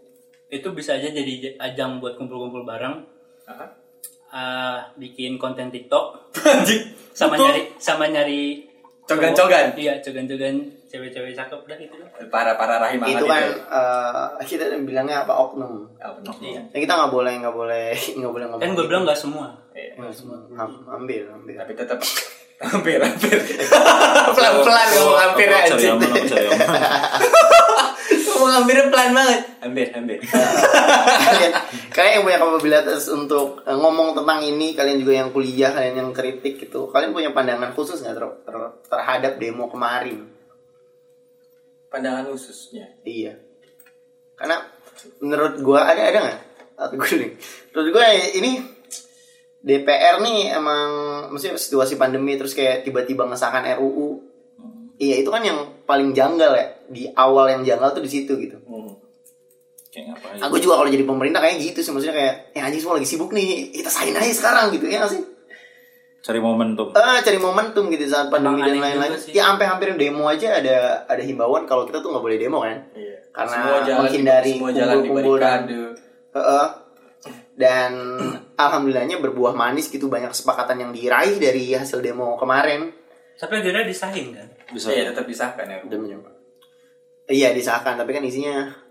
Speaker 4: itu bisa aja jadi j- ajang buat kumpul-kumpul bareng
Speaker 2: Aha.
Speaker 4: Ah, bikin konten TikTok sama nyari sama nyari
Speaker 2: Cogan-cogan.
Speaker 4: cowok. iya cogan-cogan cewek-cewek cakep dah gitu loh.
Speaker 2: para para rahim ya. hangat
Speaker 1: itu kan eh, kita bilangnya apa oknum
Speaker 2: Ah, benar.
Speaker 1: ya, kita nggak boleh nggak boleh nggak boleh ngomong
Speaker 4: kan gue bilang nggak semua
Speaker 2: Iya.
Speaker 1: Nggak semua. Ham- hampir hampir
Speaker 2: tapi tetap hampir hampir pelan pelan ngomong hampir
Speaker 6: Aku
Speaker 2: aja
Speaker 6: Cari aman, aku cari aman.
Speaker 2: ngomong Oh, hampir pelan banget hampir hampir
Speaker 1: kalian, kalian yang punya kapabilitas untuk eh, ngomong tentang ini kalian juga yang kuliah kalian yang kritik gitu kalian punya pandangan khusus nggak ter- ter- terhadap demo kemarin
Speaker 2: pandangan khususnya
Speaker 1: iya karena menurut gua ada ada nggak atau gue nih menurut gua ya, ini DPR nih emang maksudnya situasi pandemi terus kayak tiba-tiba ngesahkan RUU iya itu kan yang paling janggal ya di awal yang janggal tuh di situ gitu
Speaker 6: Kayak ngapain?
Speaker 1: Aku juga kalau jadi pemerintah kayak gitu sih maksudnya kayak ya anjing semua lagi sibuk nih, kita sain aja sekarang gitu ya nggak sih?
Speaker 6: Cari momentum.
Speaker 1: Eh cari momentum gitu saat pandemi dan
Speaker 4: Emang aneh
Speaker 1: lain-lain.
Speaker 4: juga sih.
Speaker 1: Ya sampai hampir demo aja ada ada himbauan kalau kita tuh nggak boleh demo kan.
Speaker 2: Iya.
Speaker 1: Karena
Speaker 2: Semua jalan-
Speaker 1: menghindari
Speaker 2: semua jalan Iya,
Speaker 1: kumpul-kumpul dan-
Speaker 2: dibarikade.
Speaker 1: Heeh. dan alhamdulillahnya berbuah manis gitu banyak kesepakatan yang diraih dari hasil demo kemarin.
Speaker 4: sampai akhirnya disahin kan
Speaker 6: Bisa.
Speaker 2: Iya tetap disahkan ya.
Speaker 1: Udah mencoba. Iya disahkan tapi kan isinya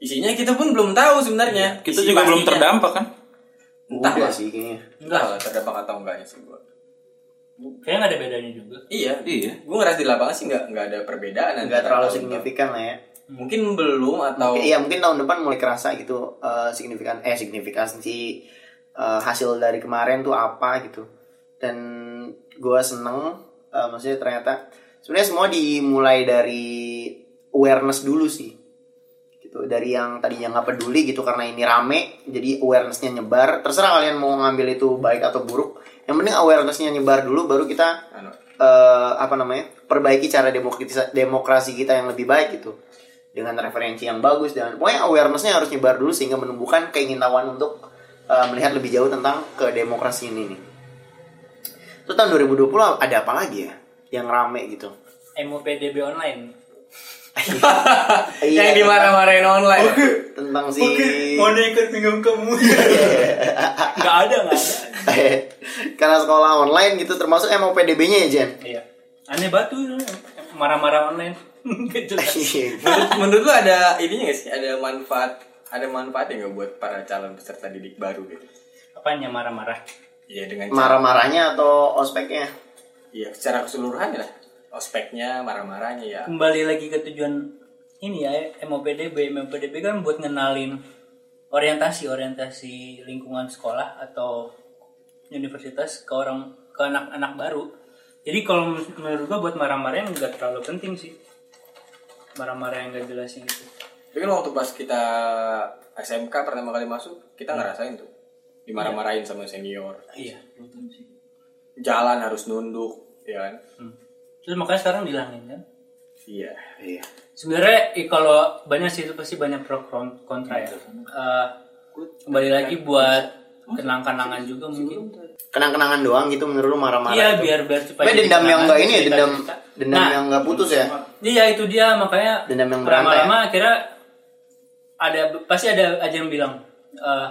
Speaker 2: Isinya kita pun belum tahu sebenarnya.
Speaker 6: Iya, Kita
Speaker 2: Isi
Speaker 6: juga belum
Speaker 2: pastinya.
Speaker 6: terdampak Iya kan?
Speaker 2: Entah
Speaker 1: udah
Speaker 2: lah.
Speaker 1: sih kayaknya.
Speaker 2: Entah lah terdampak atau enggaknya sih gua.
Speaker 4: kayaknya nggak ada bedanya juga
Speaker 2: Iya.
Speaker 6: Iya.
Speaker 2: Gua ngerasa di lapangan sih nggak nggak ada perbedaan.
Speaker 1: Nggak
Speaker 2: antara
Speaker 1: terlalu
Speaker 2: tahun-
Speaker 1: signifikan lah ya.
Speaker 2: Mungkin belum atau
Speaker 1: Oke, ya mungkin tahun depan mulai kerasa gitu eh, signifikan eh signifikansi eh, hasil dari kemarin tuh apa gitu. Dan gua seneng eh, maksudnya ternyata sebenarnya semua dimulai dari awareness dulu sih. Gitu dari yang tadinya nggak peduli gitu karena ini rame jadi awarenessnya nyebar. Terserah kalian mau ngambil itu baik atau buruk. Yang penting awarenessnya nyebar dulu baru kita
Speaker 2: Anu,
Speaker 1: eh, apa namanya perbaiki cara demokrasi demokrasi kita yang lebih baik gitu dengan referensi yang bagus dengan pokoknya awarenessnya harus nyebar dulu sehingga menumbuhkan keingintahuan untuk eh, melihat lebih jauh tentang ke demokrasi ini nih. Terus tahun 2020 ada apa lagi ya yang rame gitu?
Speaker 4: MUPDB online
Speaker 2: yang
Speaker 1: Iya,
Speaker 2: dimarah-marahin online.
Speaker 1: tentang si
Speaker 4: ikut bingung kamu nggak ada nggak ada
Speaker 1: karena sekolah online gitu termasuk MOPDB-nya ya Jen.
Speaker 4: Iya. Aneh batu marah-marah online. Nggak jelas.
Speaker 2: menurut, menurut lu ada ininya nggak sih ada manfaat ada manfaat yang nggak buat para calon peserta didik baru gitu
Speaker 4: Apanya marah-marah?
Speaker 2: Iya dengan cara-
Speaker 1: Marah-marahnya atau ospeknya?
Speaker 2: Iya secara keseluruhan lah ospeknya marah-marahnya ya
Speaker 4: Kembali lagi ke tujuan ini ya MOPDB. MOPDB kan buat ngenalin orientasi orientasi lingkungan sekolah atau universitas ke orang ke anak-anak baru. Jadi kalau men- menurut gua buat marah-marah yang nggak terlalu penting sih. Marah-marah yang gak jelasnya gitu.
Speaker 2: Tapi kan waktu pas kita SMK pertama kali masuk, kita
Speaker 6: Hmm.
Speaker 2: ngerasain tuh dimarah-marahin sama senior.
Speaker 4: Iya.
Speaker 2: Jalan harus nunduk, ya kan?
Speaker 4: Hmm. Terus makanya sekarang dihilangin kan?
Speaker 2: Iya.
Speaker 1: Iya.
Speaker 4: sebenarnya eh, kalau banyak sih itu pasti banyak pro kon- kontra ya Eh, kembali lagi buat
Speaker 2: Oh,
Speaker 4: kenang-kenangan juga mungkin
Speaker 1: Kenang-kenangan doang gitu menurut lu marah-marah?
Speaker 4: iya biar biar supaya
Speaker 1: Tapi
Speaker 4: jadi
Speaker 1: dendam yang
Speaker 4: kenangan,
Speaker 1: enggak ini ya,
Speaker 4: cerita-
Speaker 1: dendam
Speaker 4: cerita.
Speaker 1: dendam
Speaker 4: Nah.
Speaker 1: yang enggak putus ya.
Speaker 4: iya itu dia makanya
Speaker 1: Dendam yang berantai. ya.
Speaker 4: lama-lama akhirnya ada pasti ada aja yang bilang eh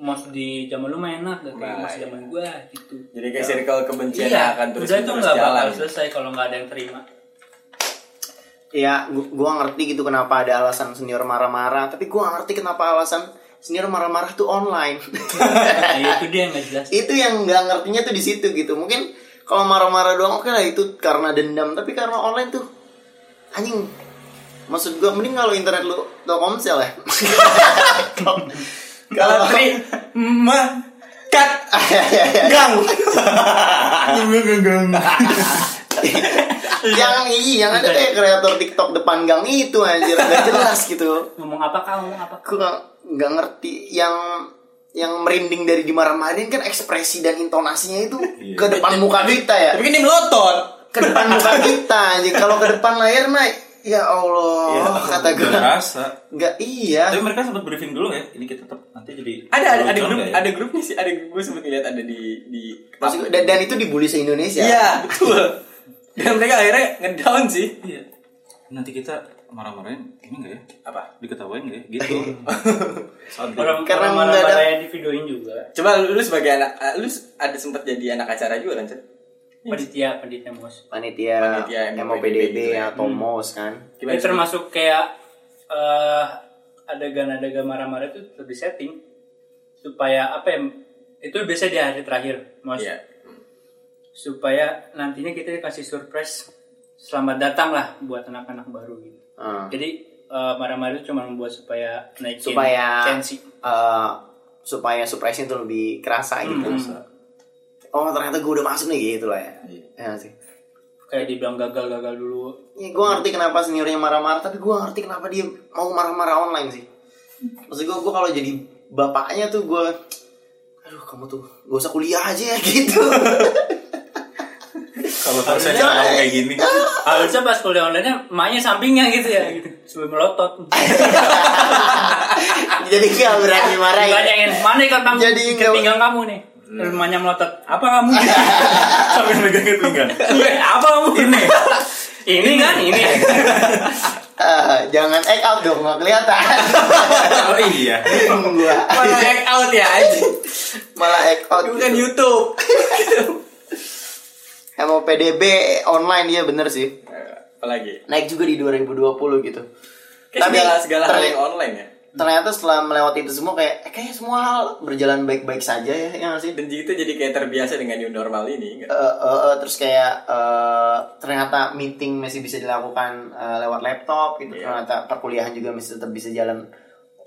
Speaker 4: mos di zaman lu mah enak gak kayak
Speaker 2: Nah,
Speaker 4: mos
Speaker 2: iya.
Speaker 4: zaman gua gitu
Speaker 2: Jadi kayak circle kebencian yang
Speaker 4: iya
Speaker 2: akan terus
Speaker 4: udah itu
Speaker 2: terus
Speaker 4: nggak bakal
Speaker 2: jalan.
Speaker 4: selesai kalau nggak ada yang terima
Speaker 1: Iya, gu- gua ngerti gitu kenapa ada alasan senior marah-marah, tapi gua nggak ngerti kenapa alasan senior marah-marah tuh online.
Speaker 4: nah, itu dia yang nggak jelas
Speaker 1: itu yang nggak ngertinya tuh di situ gitu. Mungkin kalau marah-marah doang oke lah itu karena dendam, tapi karena online tuh anjing. Maksud gua mending kalau internet lu Telkomsel ya. kalau
Speaker 2: Tri, mah, kat,
Speaker 1: gang yang iya yang ada kayak kreator TikTok depan gang itu anjir nggak jelas gitu
Speaker 4: ngomong apa kamu ngomong apa
Speaker 1: aku nggak nggak ngerti yang yang merinding dari dimarah-marahin kan ekspresi dan intonasinya itu ke depan muka kita ya
Speaker 2: Tapi kan dia melotot.
Speaker 1: ke depan muka kita anjir kalau ke depan layar mah ya Allah kata gue
Speaker 6: Berasa.
Speaker 1: nggak iya
Speaker 6: Tapi mereka sempat briefing dulu ya. Ini kita tetap nanti jadi.
Speaker 2: Ada ada, ada
Speaker 6: John
Speaker 2: grup
Speaker 6: nggak ya?
Speaker 2: ada grupnya sih ada gue sempet lihat ada di di
Speaker 1: Maksud gua, dan, dan itu dibully se Indonesia
Speaker 2: Iya betul. Dan mereka akhirnya ngedown sih.
Speaker 6: Iya. Nanti kita marah-marahin ini enggak ya?
Speaker 2: Apa?
Speaker 6: Diketawain enggak ya? Gitu. Santai.
Speaker 1: Karena
Speaker 4: orang karena
Speaker 1: nggak ada-
Speaker 4: marah-marahnya di videoin juga
Speaker 2: Coba lu, lu sebagai anak, ah, lu ada sempat jadi anak acara juga kan, Cet?
Speaker 4: panitia panitia mos
Speaker 1: panitia,
Speaker 2: Panitia MOPDB
Speaker 1: MOPDB
Speaker 2: gitu ya.
Speaker 1: atau MOS kan
Speaker 2: Gimana
Speaker 4: Ini
Speaker 2: sih?
Speaker 4: termasuk kayak eh, adegan-adegan marah-marah itu lebih setting supaya apa ya itu biasa di hari terakhir mos
Speaker 2: Iya.
Speaker 4: supaya nantinya kita kasih surprise selamat datang lah buat anak-anak baru gitu
Speaker 1: Ah.
Speaker 4: jadi eh, marah-marah itu cuma membuat supaya naikin
Speaker 1: Supaya-
Speaker 4: tensi
Speaker 1: Eh, supaya surprise itu lebih kerasa gitu oh ternyata gue udah masuk nih gitu lah ya ya nggak sih
Speaker 4: kayak dibilang gagal-gagal dulu
Speaker 1: Ya, gue ngerti kenapa seniornya marah-marah, tapi gue ngerti kenapa dia mau marah-marah online sih. Maksud gue, gue kalau jadi bapaknya tuh gue, aduh kamu tuh gak usah kuliah aja ya gitu.
Speaker 6: Kalau dosennya ngomong kayak gini.
Speaker 4: harusnya pas kuliah online-nya emaknya sampingnya gitu ya gitu. sebelum melotot
Speaker 1: jadi gak berani marah ya.
Speaker 4: ditanyain mana ikat kamu
Speaker 1: Jadi
Speaker 4: ikat
Speaker 1: nggak-
Speaker 4: pinggang kamu nih rumahnya melotot apa kamu
Speaker 6: Sambil megangin pinggang.
Speaker 4: apa kamu ini ini kan ini
Speaker 1: Ah, jangan act out dong, gak kelihatan.
Speaker 6: Oh iya.
Speaker 1: gue
Speaker 2: Malah act out ya anjing.
Speaker 1: malah act out.
Speaker 2: Bukan
Speaker 1: gitu.
Speaker 2: Kan YouTube.
Speaker 1: Emang PDB online dia bener sih.
Speaker 2: Eh, Apalagi.
Speaker 1: Naik juga di 2020 gitu.
Speaker 2: Tapi segala, segala hal
Speaker 1: terli-
Speaker 2: yang online ya.
Speaker 1: ternyata setelah melewati itu semua kayak eh, kayaknya semua hal berjalan baik-baik saja ya, ya nggak sih?
Speaker 2: Dan kita jadi kayak terbiasa dengan new normal ini.
Speaker 1: Eh,
Speaker 2: nggak?
Speaker 1: eh, eh, terus kayak eh, ternyata meeting masih bisa dilakukan eh, lewat laptop gitu ternyata perkuliahan juga masih tetap bisa jalan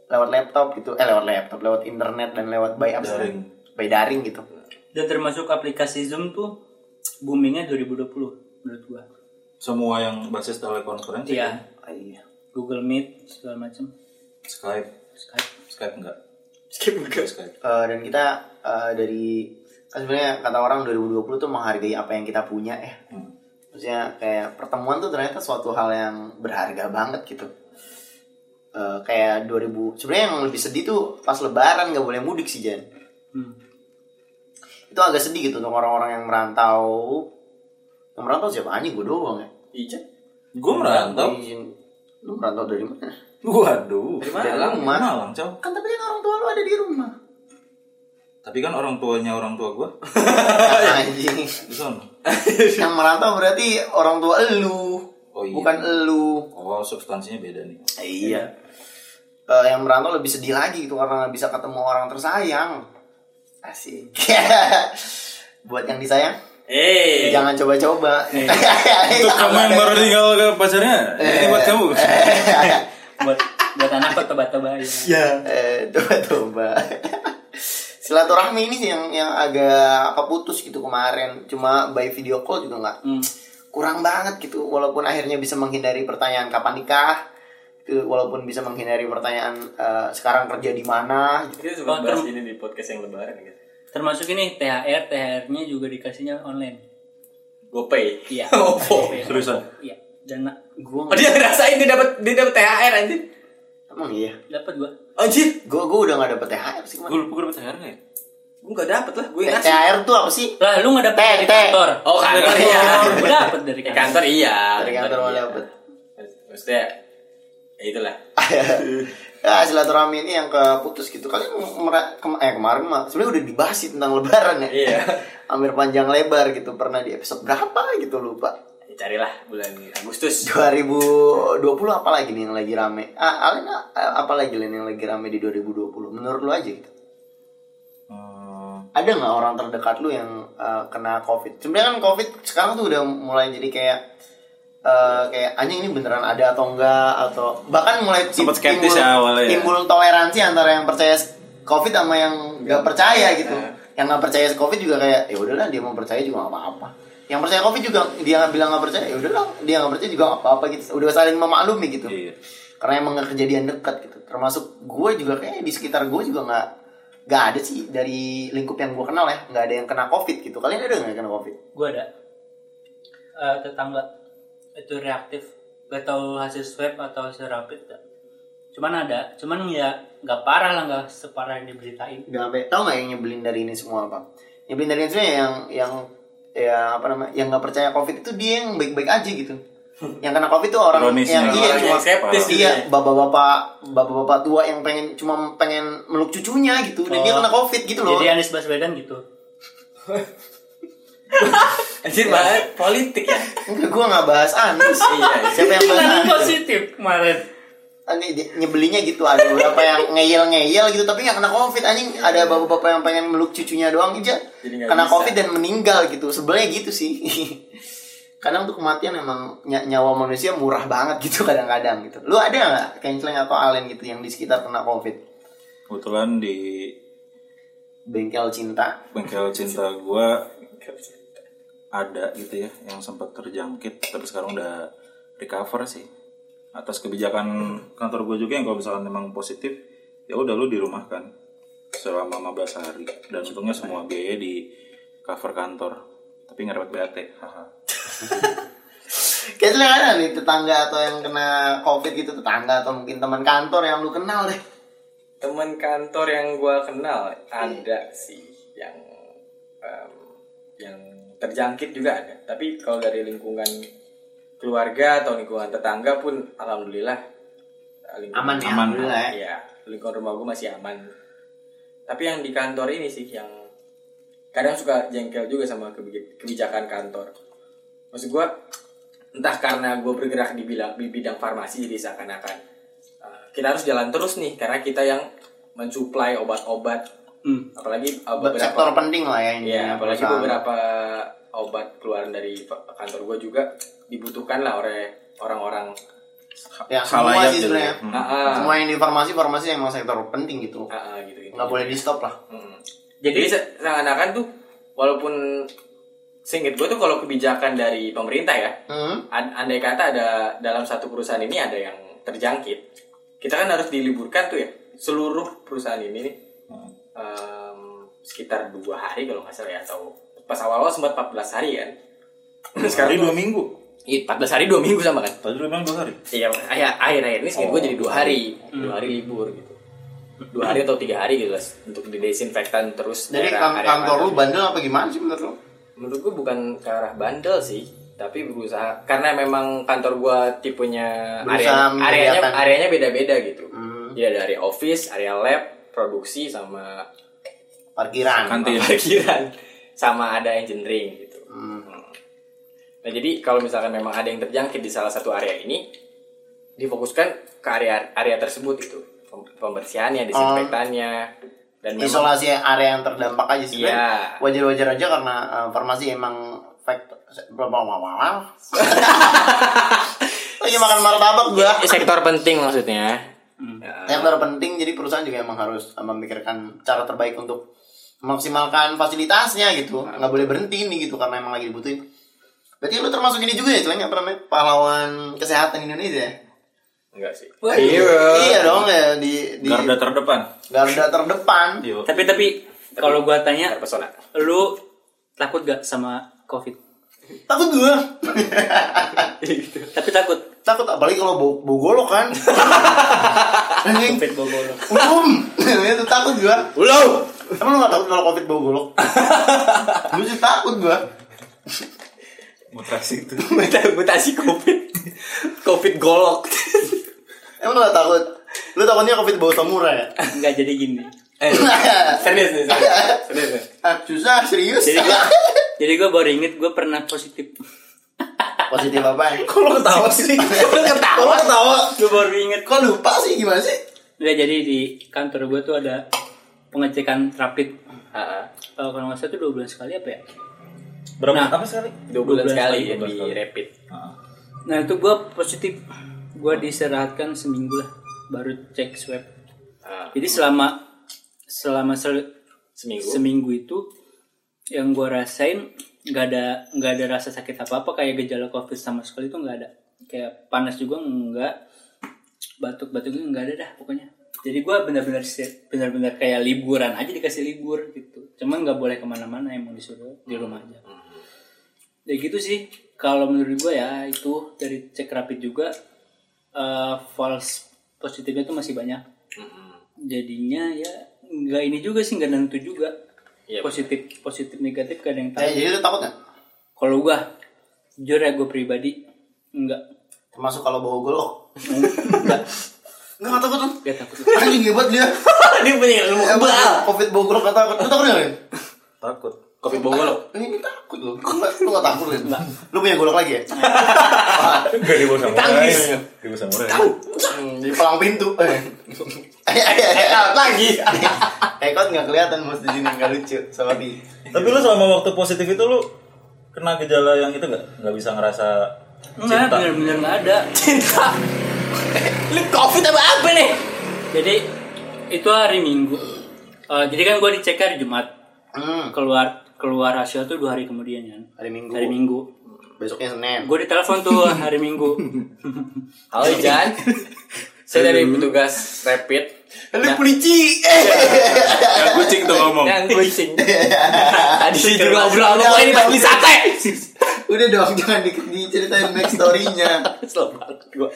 Speaker 1: lewat laptop gitu eh lewat laptop lewat internet dan lewat by apps kan.
Speaker 6: Daring.
Speaker 1: by daring gitu
Speaker 4: dan termasuk aplikasi zoom tuh boomingnya 2020 menurut gua
Speaker 6: Semua yang basis telekonferensi.
Speaker 4: iya
Speaker 1: Ah, iya
Speaker 4: Google Meet segala macam
Speaker 6: Skype.
Speaker 4: Skype
Speaker 6: Skype enggak?
Speaker 2: Skip ke-
Speaker 6: Enggak Skype.
Speaker 1: Eh, dan kita eh, dari kan sebenarnya kata orang 2020 tuh menghargai apa yang kita punya ya maksudnya kayak pertemuan tuh ternyata suatu hal yang berharga banget gitu Eh, kayak 2000 sebenarnya yang lebih sedih tuh pas lebaran nggak boleh mudik sih Jan
Speaker 4: hmm.
Speaker 1: itu agak sedih gitu untuk orang-orang yang merantau yang merantau siapa anjing gue doang ya
Speaker 2: Ijat.
Speaker 6: Gue merantau.
Speaker 1: Izin. lu merantau dari mana
Speaker 6: Waduh.
Speaker 2: Dari
Speaker 1: dari
Speaker 2: Malang.
Speaker 1: rumah
Speaker 6: Malang, Cow.
Speaker 1: kan tapi kan orang tua lu ada di rumah
Speaker 6: Tapi kan orang tuanya orang tua gue
Speaker 1: anjing
Speaker 6: di sana.
Speaker 1: yang merantau berarti orang tua lu
Speaker 6: Oh iya.
Speaker 1: bukan elu
Speaker 6: Oh substansinya beda nih.
Speaker 1: Iya. Eh, yang merantau lebih sedih lagi gitu karena nggak bisa ketemu orang tersayang. Asik. Buat yang disayang,
Speaker 2: Eh,
Speaker 1: jangan coba-coba.
Speaker 6: Eh.
Speaker 1: Iya.
Speaker 6: Untuk kamu
Speaker 1: ya.
Speaker 6: yang baru tinggal ke pacarnya, ini
Speaker 1: Eh.
Speaker 6: buat kamu.
Speaker 4: buat buat anak kok tebak-tebak ya.
Speaker 1: Ya. Eh, coba-coba. Silaturahmi ini sih yang yang agak apa putus gitu kemarin. Cuma by video call juga nggak
Speaker 4: Hmm.
Speaker 1: kurang banget gitu walaupun akhirnya bisa menghindari pertanyaan kapan nikah gitu, walaupun bisa menghindari pertanyaan eh, sekarang kerja di mana gitu.
Speaker 2: kita sempat bahas ini di podcast yang lebaran gitu.
Speaker 4: Termasuk ini THR, THR-nya juga dikasihnya online.
Speaker 2: GoPay.
Speaker 4: Iya.
Speaker 2: Oppo.
Speaker 6: Seriusan?
Speaker 4: Iya. Dan nak- gua
Speaker 2: Oh, dia ngerasain dia dapat dia dapat THR anjir.
Speaker 1: emang iya
Speaker 4: dapat gua.
Speaker 2: Anjir,
Speaker 1: gue gue udah gak dapet THR sih kemarin.
Speaker 5: Gue lupa gue dapet THR nggak ya?
Speaker 2: gua enggak dapat lah, gua yang ngasih.
Speaker 1: THR tuh apa sih
Speaker 4: Lah, lu enggak dapat
Speaker 1: Teh,
Speaker 4: dari
Speaker 1: teh.
Speaker 4: kantor.
Speaker 2: Oh, kantor iya.
Speaker 4: Gua dapat dari
Speaker 2: Di
Speaker 4: kantor.
Speaker 2: kantor iya.
Speaker 1: dari kantor mau dapet
Speaker 2: Maksudnya ya itulah.
Speaker 1: ya silaturahmi ini yang keputus gitu kalian mera- kema- eh kemarin mah sebenarnya udah dibahas sih tentang lebaran ya
Speaker 2: Iya.
Speaker 1: hampir panjang lebar gitu pernah di episode berapa gitu lupa
Speaker 2: Ya, carilah bulan Agustus.
Speaker 1: 2020 apa lagi nih yang lagi rame ah Alin ah, apa lagi Lin, yang lagi rame di 2020 menurut lu aja gitu
Speaker 6: Oh,
Speaker 1: ada nggak orang terdekat lu yang eh, kena covid sebenarnya kan covid sekarang tuh udah mulai jadi kayak eh, kayak anjing ini beneran ada atau enggak atau bahkan mulai tim-
Speaker 6: Sempet skeptis ya awalnya ya.
Speaker 1: timbul toleransi antara yang percaya s- covid sama yang nggak percaya gitu yang nggak percaya covid juga kayak ya udahlah dia mau percaya juga nggak apa-apa yang percaya covid juga dia nggak bilang nggak percaya ya udahlah dia nggak percaya juga nggak apa-apa gitu udah saling memaklumi gitu
Speaker 6: Iya.
Speaker 1: karena emang nggak kejadian dekat gitu termasuk gue juga kayaknya di sekitar gue juga nggak nggak ada sih dari lingkup yang gue kenal ya nggak ada yang kena covid gitu kalian ada nggak yang kena covid
Speaker 4: Gua ada Eh, tetangga itu reaktif. Gak tahu hasil swab atau hasil rapid. dah. Cuman ada, cuman ya nggak parah lah nggak separah yang diberitain.
Speaker 1: nggak sampai tau nggak yang nyebelin dari ini semua apa nyebelin dari ini semua yang yang ya apa namanya yang nggak percaya covid itu dia yang baik-baik aja gitu yang kena covid itu orang
Speaker 6: Ironis
Speaker 1: yang
Speaker 6: ya.
Speaker 1: iya
Speaker 2: Orang
Speaker 1: cuma
Speaker 2: yang skeptis gitu
Speaker 1: iya
Speaker 2: ya.
Speaker 1: bapak-bapak bapak-bapak tua yang pengen cuma pengen meluk cucunya gitu dan dia
Speaker 4: Oh.
Speaker 1: kena covid gitu loh
Speaker 4: Jadi Anies Baswedan gitu.
Speaker 2: Anjir banget politik ya.
Speaker 1: enggak gue nggak bahas Anies
Speaker 2: Iya, iya.
Speaker 1: siapa yang bahas
Speaker 4: Kan
Speaker 1: Anies
Speaker 4: positif kemarin.
Speaker 1: Ini Ah, di- nyebelinya gitu ada beberapa yang ngeyel-ngeyel gitu tapi nggak kena covid anjing ada bapak-bapak yang pengen meluk cucunya doang aja
Speaker 2: Jadi nggak
Speaker 1: kena
Speaker 2: bisa.
Speaker 1: covid dan meninggal gitu sebelnya gitu sih kadang untuk kematian emang ny- nyawa manusia murah banget gitu kadang-kadang gitu lu ada nggak canceling atau alien gitu yang di sekitar kena covid
Speaker 6: Kebetulan di
Speaker 1: bengkel cinta
Speaker 6: bengkel cinta gua ada gitu ya yang sempat terjangkit tapi sekarang udah recover sih atas kebijakan kantor gue juga yang kalau misalkan memang positif ya udah lu dirumahkan selama 15 hari dan untungnya semua biaya di cover kantor tapi ngerepet BAT haha.
Speaker 1: canceling ada nih tetangga atau yang kena covid gitu tetangga atau mungkin teman kantor yang lu kenal deh
Speaker 2: Teman kantor yang gua kenal ada sih yang em, yang terjangkit juga ada. Tapi kalau dari lingkungan keluarga atau lingkungan tetangga pun alhamdulillah eh, lingkungan
Speaker 1: aman ya
Speaker 6: Aman.
Speaker 1: alhamdulillah ya.
Speaker 2: Iya, lingkungan rumah gue masih aman. Tapi yang di kantor ini sih yang kadang suka jengkel juga sama kebi- kebijakan kantor. Maksud gue, entah karena gue bergerak di, bila- di bidang farmasi jadi seakan-akan uh, kita harus jalan terus nih karena kita yang mensuplai obat-obat,
Speaker 4: Hmm.
Speaker 2: apalagi uh,
Speaker 1: sektor
Speaker 2: beberapa
Speaker 1: penting lah ya ini
Speaker 2: Iya, apalagi
Speaker 1: perusahaan.
Speaker 2: beberapa obat keluaran dari kantor gue juga dibutuhkan lah oleh orang-orang
Speaker 1: ya semua
Speaker 6: Khalayak
Speaker 1: sih
Speaker 6: gitu
Speaker 1: sebenarnya
Speaker 6: ya. Hmm.
Speaker 2: Ah, ah.
Speaker 1: semua yang di farmasi farmasi emang sektor penting gitu
Speaker 2: Ah, ah, gitu-gitu.
Speaker 1: nggak boleh di stop lah
Speaker 2: Mm. Jadi,
Speaker 4: Jadi
Speaker 2: se- seakan-akan tuh walaupun singkat gue tuh kalau kebijakan dari pemerintah ya,
Speaker 1: hmm?
Speaker 2: an- andai kata ada dalam satu perusahaan ini ada yang terjangkit, kita kan harus diliburkan tuh ya seluruh perusahaan ini nih
Speaker 6: Hmm.
Speaker 2: em, sekitar dua hari kalau nggak salah ya atau pas awal-awal sempat 14 hari kan.
Speaker 6: Hari
Speaker 2: Sekarang tuh,
Speaker 6: dua minggu
Speaker 2: iya, 14 hari dua minggu sama kan?
Speaker 6: tadi lu bilang dua hari
Speaker 2: Iya, akhir akhir, akhir ini singkat gue jadi
Speaker 6: Oh.
Speaker 2: dua hari,
Speaker 6: Hmm.
Speaker 2: dua hari libur gitu, dua hari atau tiga hari gitu lah untuk didesinfektan terus.
Speaker 1: jadi
Speaker 2: daerah-
Speaker 1: kan-
Speaker 2: area
Speaker 1: kantor
Speaker 2: kantor.
Speaker 1: lu bandel apa gimana sih menurut lu
Speaker 2: menurut gue bukan ke arah bandel sih tapi berusaha karena memang kantor gua tipenya
Speaker 1: Berusaha
Speaker 2: area areanya
Speaker 1: menyediakan.
Speaker 2: areanya beda-beda gitu
Speaker 1: Hmm.
Speaker 2: jadi ada area office area lab produksi sama
Speaker 1: parkiran
Speaker 6: Kantin.
Speaker 2: parkiran sama ada engineering gitu
Speaker 1: Hmm.
Speaker 2: Nah jadi kalau misalkan memang ada yang terjangkit di salah satu area ini, difokuskan ke area area tersebut gitu, Pem-
Speaker 1: Oh.
Speaker 2: pembersihannya, disinfektannya, dan memang-
Speaker 1: Isolasi area yang terdampak aja sih.
Speaker 2: Iya.
Speaker 1: Ben. Wajar-wajar aja karena eh, farmasi emang faktor. Lagi makan martabak gua.
Speaker 2: sektor penting maksudnya. Ya,
Speaker 1: Yang terpenting jadi perusahaan juga emang harus eh, memikirkan cara terbaik untuk memaksimalkan fasilitasnya gitu. Nggak boleh berhenti nih gitu karena emang lagi dibutuhin. Berarti lu termasuk ini juga ya, Celeng, apa namanya? Pahlawan kesehatan Indonesia. ya?
Speaker 2: Enggak sih. Eh,
Speaker 1: Iya dong ya di di
Speaker 6: Garda terdepan.
Speaker 1: garda terdepan.
Speaker 6: Yo.
Speaker 4: Tapi tapi kalau gua tanya,
Speaker 2: Terpesona.
Speaker 4: lu takut gak sama covid?
Speaker 1: Takut gua.
Speaker 4: Tapi takut.
Speaker 1: Takut apalagi kalau bau, bau golok kan. Anjing.
Speaker 4: Covid bobolo.
Speaker 1: Um, itu takut gua.
Speaker 2: Ulo.
Speaker 1: Emang lu gak takut kalau covid bau golok? Gue sih takut gua.
Speaker 6: Mutasi itu.
Speaker 2: Mutasi covid. Covid golok.
Speaker 1: Emang lu gak takut? Lu takutnya covid bau samurai ya?
Speaker 4: Enggak jadi gini.
Speaker 2: Eh, serius nih, serius. serius. nih.
Speaker 1: Ah, Susah, serius.
Speaker 4: Jadi gua jadi gua baru inget gua pernah positif.
Speaker 1: Positif apa?
Speaker 2: Kok lo ketawa sih?
Speaker 1: Lu ketawa, ketawa.
Speaker 4: Gua baru inget.
Speaker 1: Kok lupa sih gimana sih?
Speaker 4: Ya jadi di kantor gua tuh ada pengecekan rapid. Eh, kalau nggak salah tuh dua bulan sekali apa ya?
Speaker 6: Berapa
Speaker 4: Nah.
Speaker 6: apa sekali?
Speaker 2: Dua bulan sekali yang di rapid.
Speaker 6: Ah,
Speaker 4: Nah itu gue positif Gue diserahkan seminggu lah Baru cek swab
Speaker 2: Ah,
Speaker 4: Jadi selama Selama sel-
Speaker 2: seminggu.
Speaker 4: seminggu itu Yang gue rasain nggak ada nggak ada rasa sakit apa-apa Kayak gejala covid sama sekali itu nggak ada Kayak panas juga nggak Batuk-batuk juga nggak ada dah pokoknya Jadi gue benar-benar sir- benar-benar kayak liburan aja dikasih libur gitu Cuman nggak boleh kemana-mana emang disuruh di rumah aja ya gitu sih kalau menurut gue ya itu dari cek rapid juga eh, false positifnya tuh masih banyak jadinya ya nggak ini juga sih nggak nentu juga
Speaker 2: Iya,
Speaker 4: positif positif negatif gak ada yang tahu
Speaker 1: Eh, jadi lu takut gak?
Speaker 4: kalau gue jujur ya gue pribadi nggak
Speaker 1: Termasuk kalau bau golok.
Speaker 4: nggak
Speaker 1: Enggak gak takut lu.
Speaker 4: nggak takut
Speaker 1: Anjing hebat dia.
Speaker 2: Dia punya ilmu
Speaker 1: Emang Covid bau golok gak takut. Lu takut gak? Lin?
Speaker 6: Takut.
Speaker 2: Covid bogol lo.
Speaker 1: Ini ini takut lu. Lu gak- Lu gak takut Lin? Lu punya golok lagi ya?
Speaker 6: Gak di bawah samurai. Di bawah samurai.
Speaker 1: Hmm, di palang pintu. Eh, eh, eh, eh, lagi. Ekot nggak kelihatan bos di sini nggak lucu. Sorry.
Speaker 6: Tapi lu selama waktu positif itu lu kena gejala yang itu gak? Gak bisa ngerasa
Speaker 4: nggak
Speaker 6: cinta.
Speaker 4: benar-benar nggak ada
Speaker 2: Cinta. Lu covid apa apa nih?
Speaker 4: jadi itu hari minggu Eh, jadi kan gue dicek hari jumat
Speaker 1: Hmm.
Speaker 4: keluar keluar hasil tuh dua hari kemudian kan
Speaker 1: Hari Minggu.
Speaker 4: hari minggu
Speaker 1: Besoknya Senin.
Speaker 4: gue ditelepon tuh hari minggu
Speaker 2: Halo Jan. Saya dari petugas rapid.
Speaker 1: Lu polisi. Eh.
Speaker 6: Kayak kucing tuh ngomong.
Speaker 2: Yang kucing. Tadi juga ngobrol apa ini bagi sate.
Speaker 1: Udah dong jangan di, diceritain back story-nya.
Speaker 2: Slow banget gua.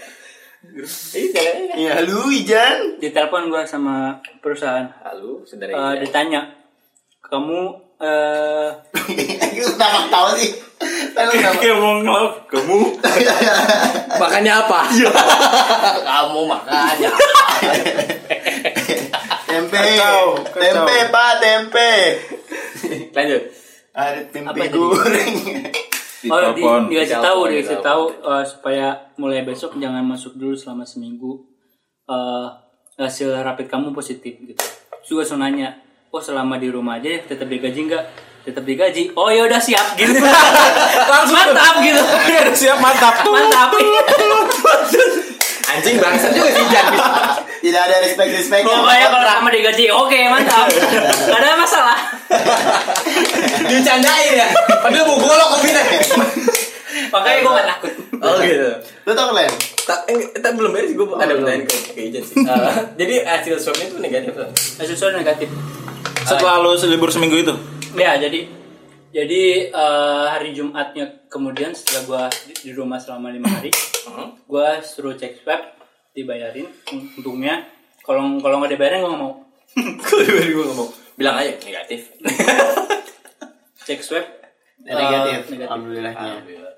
Speaker 2: Ini jalannya.
Speaker 1: Ya lu Ijan.
Speaker 4: ditelepon gue sama perusahaan
Speaker 2: Halo, saudara
Speaker 4: Eh,
Speaker 2: Jan.
Speaker 4: ditanya kamu eh
Speaker 1: Lu kenapa tahu sih? Tadi lu kenapa?
Speaker 6: Kayak mau ngelap. Kamu.
Speaker 2: Makannya apa? Kamu makannya.
Speaker 1: Tempe.
Speaker 6: Kacau, kacau.
Speaker 1: Tempe, Pak, tempe.
Speaker 2: Lanjut.
Speaker 1: Ada tempe
Speaker 4: Apa tadi?
Speaker 1: goreng.
Speaker 4: oh di,
Speaker 6: Ditelepon.
Speaker 4: dikasih
Speaker 2: Ditelepon,
Speaker 4: tahu dikasih
Speaker 2: ditelepon.
Speaker 4: tahu eh, supaya mulai besok jangan masuk dulu selama seminggu eh hasil rapid kamu positif gitu juga langsung nanya oh selama di rumah aja ya, tetap digaji nggak tetap digaji oh ya udah siap gitu langsung mantap gitu
Speaker 6: Siap mantap.
Speaker 4: mantap
Speaker 2: Anjing bangsa juga sih Jan.
Speaker 1: Tidak ada respect-respect.
Speaker 4: pokoknya kalau sama digaji oke mantap nggak ada masalah
Speaker 2: Dicandain ya. Padahal mau golok covid
Speaker 4: makanya gue nggak takut
Speaker 2: Oh gitu.
Speaker 1: Lu tau kan? Len?
Speaker 2: Tak, eh, tak belum beres gue ada
Speaker 4: belum.
Speaker 2: pertanyaan ke, ke Ijen sih. Eh, jadi hasil swabnya itu negatif kan?
Speaker 4: hasil swab negatif
Speaker 6: Setelah lu libur seminggu itu.
Speaker 4: Ya jadi jadi eh, hari Jumatnya kemudian setelah gua di, di rumah selama lima hari,
Speaker 6: Hmm.
Speaker 4: gua suruh cek swab dibayarin. Untungnya kalau kalau nggak dibayarin gua nggak mau
Speaker 2: Kalau gue ngomong bilang aja negatif.
Speaker 4: cek swab.
Speaker 1: Eh, Negatif.
Speaker 4: eh, negatif.
Speaker 2: Ah.
Speaker 1: Alhamdulillahnya.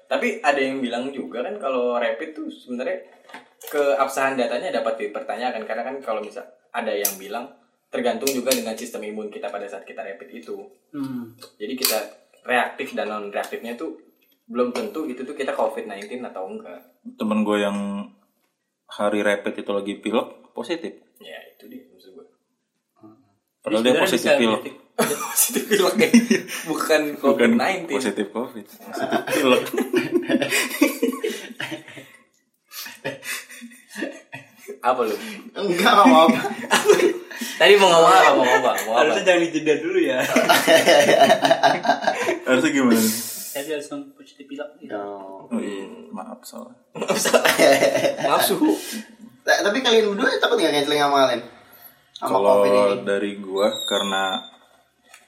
Speaker 2: Tapi ada yang bilang juga kan kalau rapid tuh sebenarnya keabsahan datanya dapat dipertanyakan karena kan kalau misal ada yang bilang tergantung juga dengan sistem imun kita pada saat kita rapid itu.
Speaker 4: Hmm.
Speaker 2: Jadi kita reaktif dan non reaktifnya tuh belum tentu itu tuh kita COVID-19 atau enggak.
Speaker 6: Temen gue yang hari rapid itu lagi pilek positif.
Speaker 2: Ya itu dia maksud gue.
Speaker 6: Padahal dia
Speaker 4: Sebenarnya
Speaker 6: positif
Speaker 4: bisa
Speaker 6: pilek.
Speaker 4: detik-
Speaker 2: Positif pilek ya. Bukan
Speaker 6: Bukan
Speaker 2: COVID-19.
Speaker 6: positif covid. Positif pilek.
Speaker 2: Apa lu?
Speaker 1: Enggak nggak mau apa.
Speaker 2: Tadi mau ngomong apa? Mau ngomong apa? Mau apa?
Speaker 4: Harusnya jangan dijeda dulu ya.
Speaker 6: Harusnya gimana?
Speaker 4: Tadi langsung positif pilek gitu.
Speaker 6: Oh, iya. Maaf salah.
Speaker 2: Maaf suhu.
Speaker 1: Ta- Tapi kalian berdua takut nggak canceling sama kalian? Sama covid ini.
Speaker 6: Kalau dari gue karena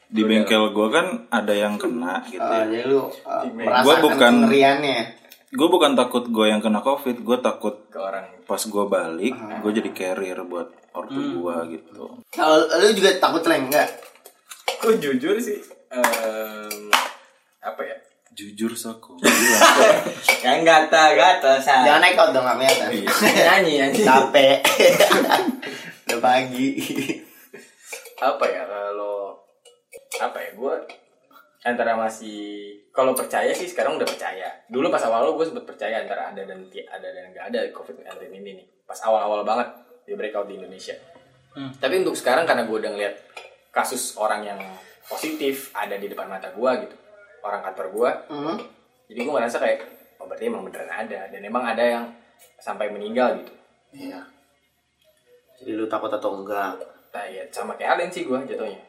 Speaker 6: di bengkel gue kan ada yang kena gitu.
Speaker 1: Eh, jadi lu eh,
Speaker 6: Gua
Speaker 1: merasakan
Speaker 6: bukan-
Speaker 1: kengeriannya.
Speaker 6: Gue bukan takut gue yang kena covid, gue takut
Speaker 2: Ke orang.
Speaker 6: pas gue balik
Speaker 1: Ah.
Speaker 6: gue jadi carrier buat ortu
Speaker 1: Hmm.
Speaker 6: gue gitu
Speaker 1: Kalau lu juga takut leng enggak?
Speaker 2: Gue jujur sih. em, apa ya?
Speaker 6: jujur saku
Speaker 2: Yang gata-gata sa.
Speaker 1: Jangan naik out dong nggak kelihatan.
Speaker 2: Nyanyi nyanyi.
Speaker 1: Capek. Udah pagi.
Speaker 2: apa ya kalau apa ya gue antara masih kalau percaya sih sekarang udah percaya dulu pas awal gue sempet percaya antara ada dan ti- ada dan nggak ada covid 19 ini nih pas awal awal banget di breakout di Indonesia
Speaker 4: Hmm.
Speaker 2: tapi untuk sekarang karena gue udah ngeliat kasus orang yang positif ada di depan mata gue gitu orang kantor gue
Speaker 1: Hmm.
Speaker 2: jadi gue ngerasa kayak oh berarti emang beneran ada dan emang ada yang sampai meninggal gitu
Speaker 1: Iya. Jadi lu takut atau enggak?
Speaker 2: nah ya sama kayak Allen sih gue jatuhnya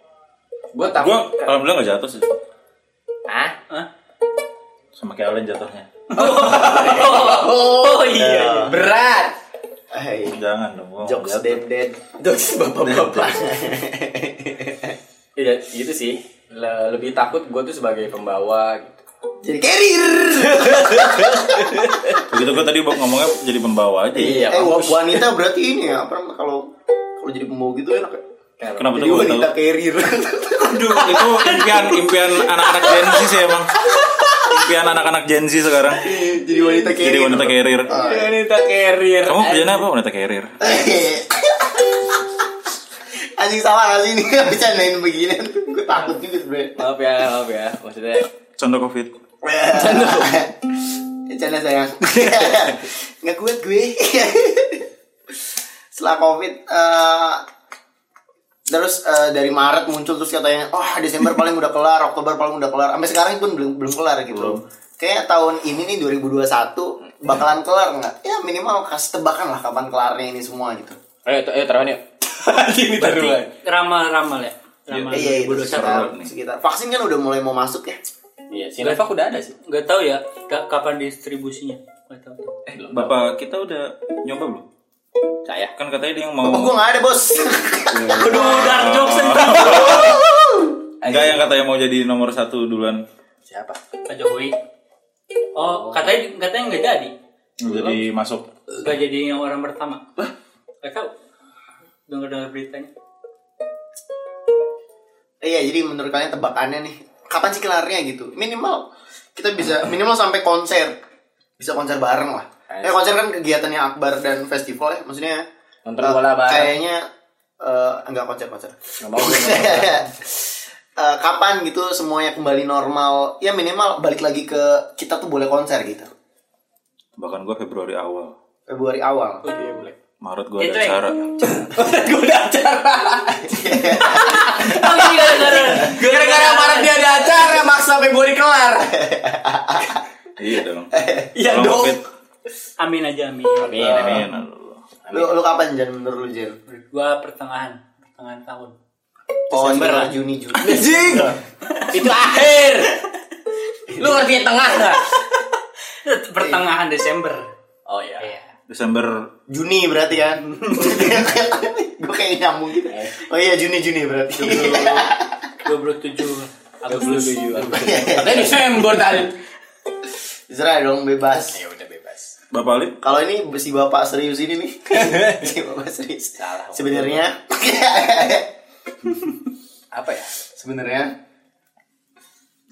Speaker 2: gue
Speaker 6: gue
Speaker 2: takut
Speaker 6: alhamdulillah nggak jatuh sih
Speaker 2: ah
Speaker 6: sama kayak Alen jatuhnya
Speaker 4: Oh iya.
Speaker 2: Eh, berat
Speaker 1: Hey,
Speaker 6: jangan dong gua nggak
Speaker 1: jokes
Speaker 6: jatuh.
Speaker 1: dead dead.
Speaker 2: Jokes bapak-bapak. Iya, itu sih. Le- lebih takut gue tuh sebagai pembawa gitu.
Speaker 1: Jadi carrier.
Speaker 6: begitu gue tadi ngomongnya jadi pembawa aja ya.
Speaker 2: Iya,
Speaker 1: eh wa-
Speaker 2: mampus.
Speaker 1: wanita berarti ini ya apa namanya, kalau kalau jadi pembawa gitu enak ya.
Speaker 2: Kenapa?
Speaker 6: kenapa tuh
Speaker 1: Jadi
Speaker 6: gue
Speaker 1: wanita carrier.
Speaker 6: Aduh, itu impian impian anak-anak Gen Z sih emang impian anak-anak Gen Z sekarang
Speaker 1: jadi wanita Iya. carrier. Ah.
Speaker 6: jadi wanita carrier
Speaker 2: Wanita Iya, carrier. Eh,
Speaker 6: kamu kerjanya apa wanita carrier
Speaker 1: Anjing salah gak sih ini bercandain beginian Gue takut juga sebenernya
Speaker 2: Maaf ya, maaf ya. Maksudnya
Speaker 6: contoh covid
Speaker 1: Bercanda Eh, sayang Gak kuat gue Setelah covid eh, Terus eh, dari Maret muncul terus katanya Oh Desember paling udah kelar, Oktober paling udah kelar Sampai sekarang pun belum belum kelar gitu Kayak tahun ini nih 2021 Bakalan kelar nggak? Ya minimal kasih tebakan lah kapan kelarnya ini semua gitu
Speaker 2: Ayo, t- ayo taruhan yuk. Ini taruhan.
Speaker 4: Ramal-ramal ya. Ramal
Speaker 1: Iya itu
Speaker 4: 2021.
Speaker 1: sekitar, sekitar Vaksin kan udah mulai mau masuk ya
Speaker 2: Iya, Sinovac udah ada sih.
Speaker 4: Gak tau ya ka- kapan distribusinya. Gak tau.
Speaker 2: Eh, belum.
Speaker 6: bapak kita udah nyoba belum
Speaker 2: Saya.
Speaker 6: kan katanya dia yang
Speaker 1: Oh,
Speaker 6: mau
Speaker 1: gue gak ada bos.
Speaker 4: Aduh, dark jokes tentang
Speaker 6: Enggak yang katanya mau jadi nomor satu duluan
Speaker 2: Siapa?
Speaker 4: Pak Jokowi. Oh, katanya katanya nggak jadi.
Speaker 6: jadi masuk
Speaker 4: Gak jadi yang orang pertama. Gak tau. Dengar dengar beritanya.
Speaker 1: Iya, jadi menurut kalian tebakannya nih, kapan sih kelarnya gitu? Minimal kita bisa minimal sampai konser. Bisa konser bareng lah. Ya konser kan kegiatannya akbar dan festival ya, maksudnya
Speaker 2: Nonton
Speaker 1: eh,
Speaker 2: bola bareng.
Speaker 1: Kayaknya eh enggak konser-konser.
Speaker 2: Nggak mau, nggak mau.
Speaker 1: Eh, kapan gitu semuanya kembali normal? Ya minimal balik lagi ke kita tuh boleh konser gitu.
Speaker 6: bahkan gue Februari awal
Speaker 1: Februari awal.
Speaker 2: Oh, iya,
Speaker 6: Maret gue
Speaker 4: Itu
Speaker 6: ada
Speaker 4: yang-
Speaker 6: acara
Speaker 2: Gue udah acara.
Speaker 4: Oh, ini gara-gara
Speaker 2: Gara-gara Maret dia ada acara, maksa Februari kelar.
Speaker 6: Iya dong
Speaker 2: Iya
Speaker 6: Kalau
Speaker 2: dong.
Speaker 6: Covid, Nah,
Speaker 4: Amin aja amin.
Speaker 2: Amin,
Speaker 6: Amin Allah.
Speaker 1: Lu, lu kapan Jan menurut lu Jan?
Speaker 4: Gua pertengahan pertengahan tahun.
Speaker 1: Oh,
Speaker 4: Desember lah.
Speaker 1: Juni Juni.
Speaker 2: Anjing.
Speaker 6: Nah,
Speaker 2: Itu akhir. Lu ngerti tengah nggak?
Speaker 4: Pertengahan Desember.
Speaker 2: Oh iya.
Speaker 4: Iya.
Speaker 6: Desember
Speaker 1: Juni berarti kan? Gue kayak nyambung gitu.
Speaker 4: Eh.
Speaker 1: Oh iya Juni Juni berarti.
Speaker 4: 27 Agustus.
Speaker 2: 27 Agustus. Katanya
Speaker 4: Iya.
Speaker 2: Desember tadi.
Speaker 1: Terserah dong bebas.
Speaker 2: Ya udah bebas.
Speaker 6: Bapak Alip
Speaker 1: Kalau ini si bapak serius ini nih. si bapak serius.
Speaker 2: Salah.
Speaker 1: Sebenarnya
Speaker 2: Apa ya?
Speaker 1: sebenarnya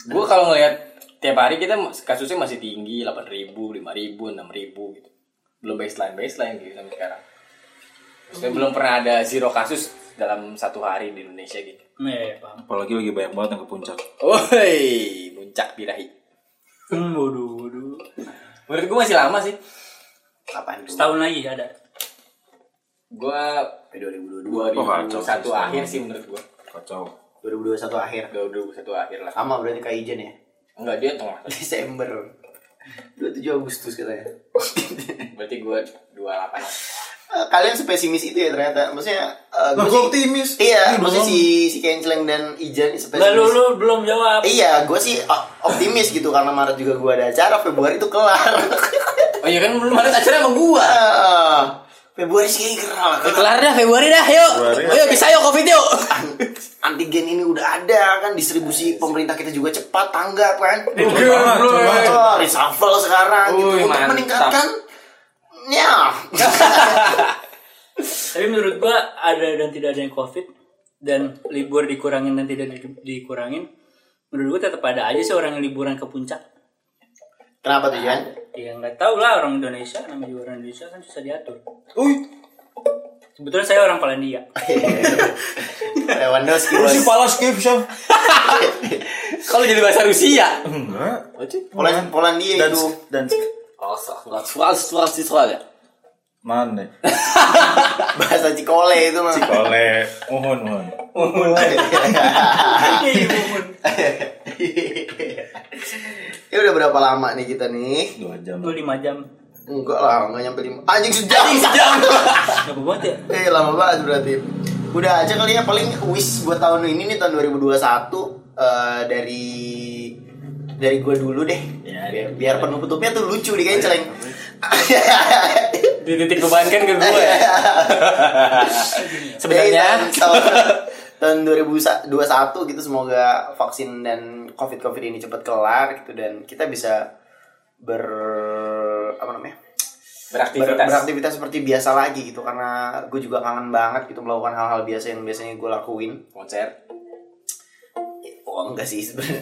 Speaker 2: Gue kalau ngelihat tiap hari kita mas- kasusnya masih tinggi 8 ribu, 5 ribu, 6 ribu gitu. Belum baseline baseline gitu sampai sekarang. Maksudnya
Speaker 6: Oh.
Speaker 2: belum pernah ada zero kasus dalam satu hari di Indonesia gitu.
Speaker 4: Iya, iya, paham.
Speaker 6: apalagi lagi banyak banget yang ke puncak
Speaker 2: Woi, puncak birahi.
Speaker 4: Hmm, waduh, waduh.
Speaker 2: Menurut gue masih lama sih.
Speaker 1: Apaan itu?
Speaker 4: Setahun lagi ada.
Speaker 2: Gue
Speaker 1: Sampai 2022.
Speaker 6: Oh,
Speaker 2: 2021
Speaker 6: kacau sih, setahun.
Speaker 2: gitu. akhir sih menurut gue.
Speaker 6: Kacau.
Speaker 1: 2021 akhir.
Speaker 2: 2021 akhir lah.
Speaker 1: Sama berarti kayak Ijen ya.
Speaker 2: Enggak dia tengah.
Speaker 1: Desember. 27 Agustus katanya.
Speaker 2: Berarti gue 28 lah.
Speaker 1: Eh, Kalian sepesimis itu ya ternyata. Maksudnya eh,
Speaker 6: Lah,
Speaker 1: gua
Speaker 6: gua
Speaker 1: sih-
Speaker 6: optimis.
Speaker 1: Iya,
Speaker 6: Ini
Speaker 1: maksudnya
Speaker 6: doang.
Speaker 1: si si Kenceleng dan Ijen
Speaker 4: Enggak
Speaker 1: sepesimis.
Speaker 4: lu lu belum jawab.
Speaker 1: Iya, gue sih o- optimis gitu karena Maret juga gue ada acara, Februari itu kelar.
Speaker 2: Oh iya kan belum ada acara sama gue.
Speaker 1: Eh, Februari sih kayaknya kelar. lah, karena
Speaker 2: Kelar dah Februari dah yuk.
Speaker 6: Februari.
Speaker 2: Ayo bisa yuk Covid yuk.
Speaker 1: Antigen ini udah ada kan distribusi pemerintah kita juga cepat tanggap kan.
Speaker 6: Coba, coba.
Speaker 1: Oh, reshuffle sekarang gitu
Speaker 2: Wih,
Speaker 1: untuk
Speaker 2: mantap.
Speaker 1: meningkatkan ya
Speaker 4: Tapi menurut gua ada dan tidak ada yang covid dan libur dikurangin dan tidak di- dikurangin. Menurut gua tetap ada aja sih orang yang liburan ke puncak.
Speaker 1: Kenapa tuh Jan?
Speaker 4: Ya nggak tahu lah orang Indonesia namanya juga orang Indonesia kan susah diatur. Kebetulan saya orang Polandia.
Speaker 1: Lewandowski bos.
Speaker 6: Si palas kayak bisa.
Speaker 2: Kalau jadi bahasa Rusia.
Speaker 6: Enggak.
Speaker 1: Polan Polandia
Speaker 6: Dan
Speaker 1: itu.
Speaker 6: dan
Speaker 2: Oh, soal soal soal ya.
Speaker 6: mana?
Speaker 1: bahasa Cikole itu mah.
Speaker 6: Oleh mohon mohon.
Speaker 4: Iya,
Speaker 1: ya udah berapa lama nih kita nih?
Speaker 6: Dua jam.
Speaker 4: Itu lima jam.
Speaker 1: Enggak lah, enggak nyampe lima. Anjing sejam.
Speaker 4: Gak banget ya.
Speaker 1: eh lama banget berarti. Udah aja kali ya paling wish buat tahun ini nih tahun 2021 eh, dari dari gue dulu deh.
Speaker 2: Ya,
Speaker 1: biar, biar penutupnya tuh lucu di kayak celeng.
Speaker 2: Di titik bebankan ke gue ya.
Speaker 1: Jadi,
Speaker 2: Sebenarnya
Speaker 1: Iya, tahun, tahun 2021 gitu semoga vaksin dan covid covid ini cepat kelar gitu dan kita bisa ber apa namanya Ber-
Speaker 2: beraktivitas.
Speaker 1: beraktivitas seperti biasa lagi gitu karena gue juga kangen banget gitu melakukan hal-hal biasa yang biasanya gue lakuin
Speaker 2: Konser.
Speaker 1: oh enggak sih sebenarnya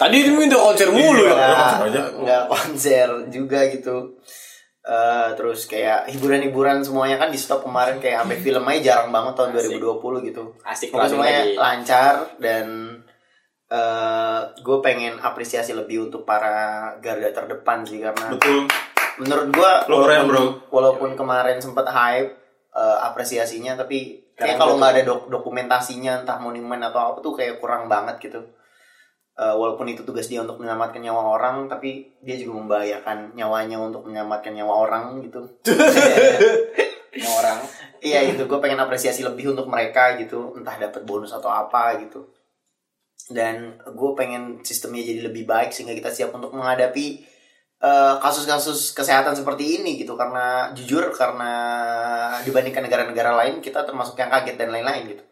Speaker 2: Tadi itu minta konser mulu
Speaker 1: Nggak-
Speaker 6: ya, langsung aja.
Speaker 1: nggak konser juga gitu Eh, terus kayak hiburan-hiburan semuanya kan di stop kemarin kayak
Speaker 2: Hmm.
Speaker 1: sampai film aja jarang banget tahun 2020 gitu Pokoknya
Speaker 2: Asik banget
Speaker 1: semuanya
Speaker 2: lagi.
Speaker 1: lancar dan eh gue pengen apresiasi lebih untuk para garda terdepan sih karena
Speaker 6: Betul.
Speaker 1: menurut gue
Speaker 6: Lo keren, bro.
Speaker 1: walaupun kemarin sempat hype eh, apresiasinya tapi kayak
Speaker 2: Keren
Speaker 1: kalau nggak
Speaker 2: banget.
Speaker 1: ada dok- dokumentasinya entah monumen atau apa tuh kayak kurang banget gitu Eh, walaupun itu tugas dia untuk menyelamatkan nyawa orang tapi dia juga membahayakan nyawanya untuk menyelamatkan nyawa orang gitu
Speaker 2: Sama orang.
Speaker 1: iya itu gue pengen apresiasi lebih untuk mereka gitu entah dapat bonus atau apa gitu dan gue pengen sistemnya jadi lebih baik sehingga kita siap untuk menghadapi eh, kasus-kasus kesehatan seperti ini gitu karena jujur karena dibandingkan negara-negara lain kita termasuk yang kaget dan lain-lain gitu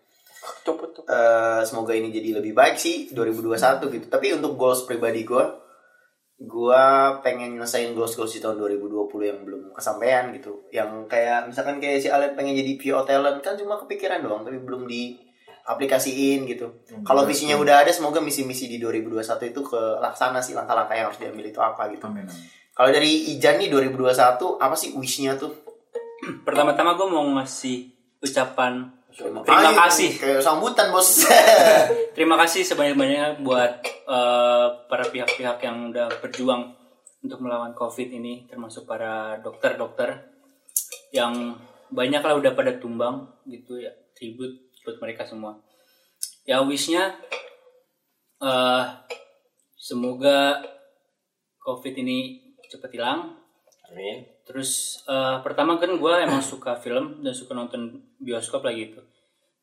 Speaker 2: Copot tuh.
Speaker 1: Eh, semoga ini jadi lebih baik sih 2021 gitu tapi untuk goals pribadi gue gue pengen nyelesain goals goals di tahun 2020 yang belum kesampaian gitu yang kayak misalkan kayak si Alet pengen jadi PO talent kan cuma kepikiran doang tapi belum diaplikasiin gitu
Speaker 4: Hmm,
Speaker 1: kalau visinya udah ada semoga misi-misi di 2021 itu kelaksana sih langkah-langkah yang harus diambil itu apa
Speaker 4: Hmm.
Speaker 1: gitu
Speaker 6: Amin.
Speaker 1: kalau dari Ijan nih 2021 apa sih wishnya tuh
Speaker 4: Pertama-tama gua mau ngasih ucapan terima
Speaker 1: Ayo,
Speaker 4: kasih.
Speaker 1: kayak sambutan bos
Speaker 4: Terima kasih sebanyak-banyaknya buat eh, para pihak-pihak yang udah berjuang untuk melawan COVID ini, termasuk para dokter-dokter yang banyaklah udah pada tumbang gitu ya, tribut buat mereka semua. Ya wishnya eh, semoga COVID ini cepat hilang,
Speaker 2: Amin.
Speaker 4: Terus eh, pertama kan gue emang suka film dan suka nonton bioskop lagi itu.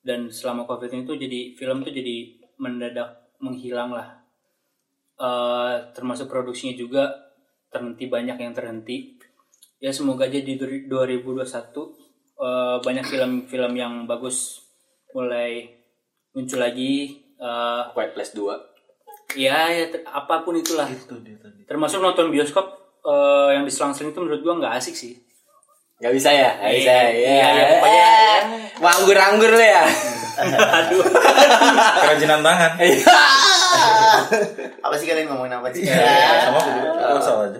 Speaker 4: Dan selama covid ini tuh jadi film tuh jadi mendadak menghilang lah. Eh, termasuk produksinya juga terhenti banyak yang terhenti. Ya semoga aja di du- 2021 eh, banyak film-film yang bagus mulai muncul lagi. Eh,
Speaker 2: Quiet Place 2.
Speaker 4: ya, ya ter- apapun itulah. Termasuk nonton bioskop eh, yang diselang-seling itu menurut gue nggak asik sih.
Speaker 2: Gak bisa ya? Gak bisa ya.
Speaker 4: Iya, iya, pokoknya-
Speaker 2: Wah, anggur-anggur lu ya.
Speaker 4: Aduh.
Speaker 6: Kerajinan tangan.
Speaker 1: apa sih kalian ngomongin apa sih
Speaker 4: Iya.
Speaker 6: Sama aku juga. Aku salah aja.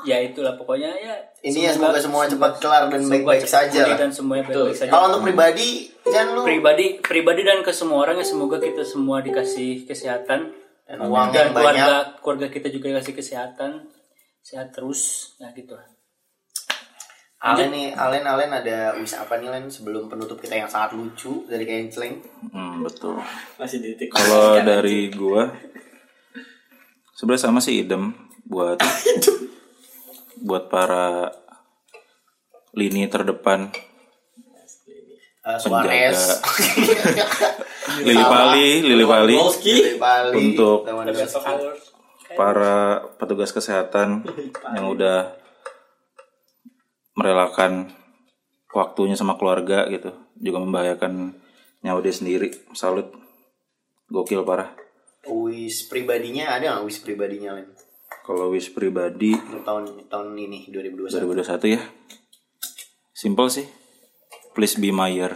Speaker 4: ya itulah pokoknya ya.
Speaker 1: Ini ya semoga semua cepat kelar dan
Speaker 4: semoga
Speaker 1: baik-baik
Speaker 4: cepat
Speaker 1: saja
Speaker 4: pulih
Speaker 1: lah.
Speaker 4: Dan semuanya baik-baik saja.
Speaker 1: Kalau untuk pribadi, jangan lu
Speaker 4: pribadi pribadi dan ke semua orang ya semoga kita semua dikasih kesehatan dan
Speaker 1: dan uang
Speaker 4: dan
Speaker 1: yang banyak
Speaker 4: keluarga keluarga kita juga kasih kesehatan sehat terus nah gitu lah
Speaker 1: Alen nih Alen Alen ada wis apa nih Len sebelum penutup kita yang sangat lucu dari Kenceleng
Speaker 6: Hmm, betul.
Speaker 2: masih di titik
Speaker 6: Kalau dari gua sebenarnya sama sih idem buat buat para lini terdepan
Speaker 1: Eh, Suarez
Speaker 2: Iya,
Speaker 6: Lili Pali, Lili Pali
Speaker 1: Dari Bali
Speaker 6: Untuk-
Speaker 1: Lewandowski.
Speaker 6: para petugas kesehatan yang udah merelakan waktunya sama keluarga gitu juga membahayakan nyawa dia sendiri salut gokil parah
Speaker 1: wis pribadinya ada nggak wis pribadinya Len
Speaker 6: kalau wish pribadi
Speaker 1: Untuk tahun tahun ini 2021
Speaker 6: 2021 ya simple sih please be my year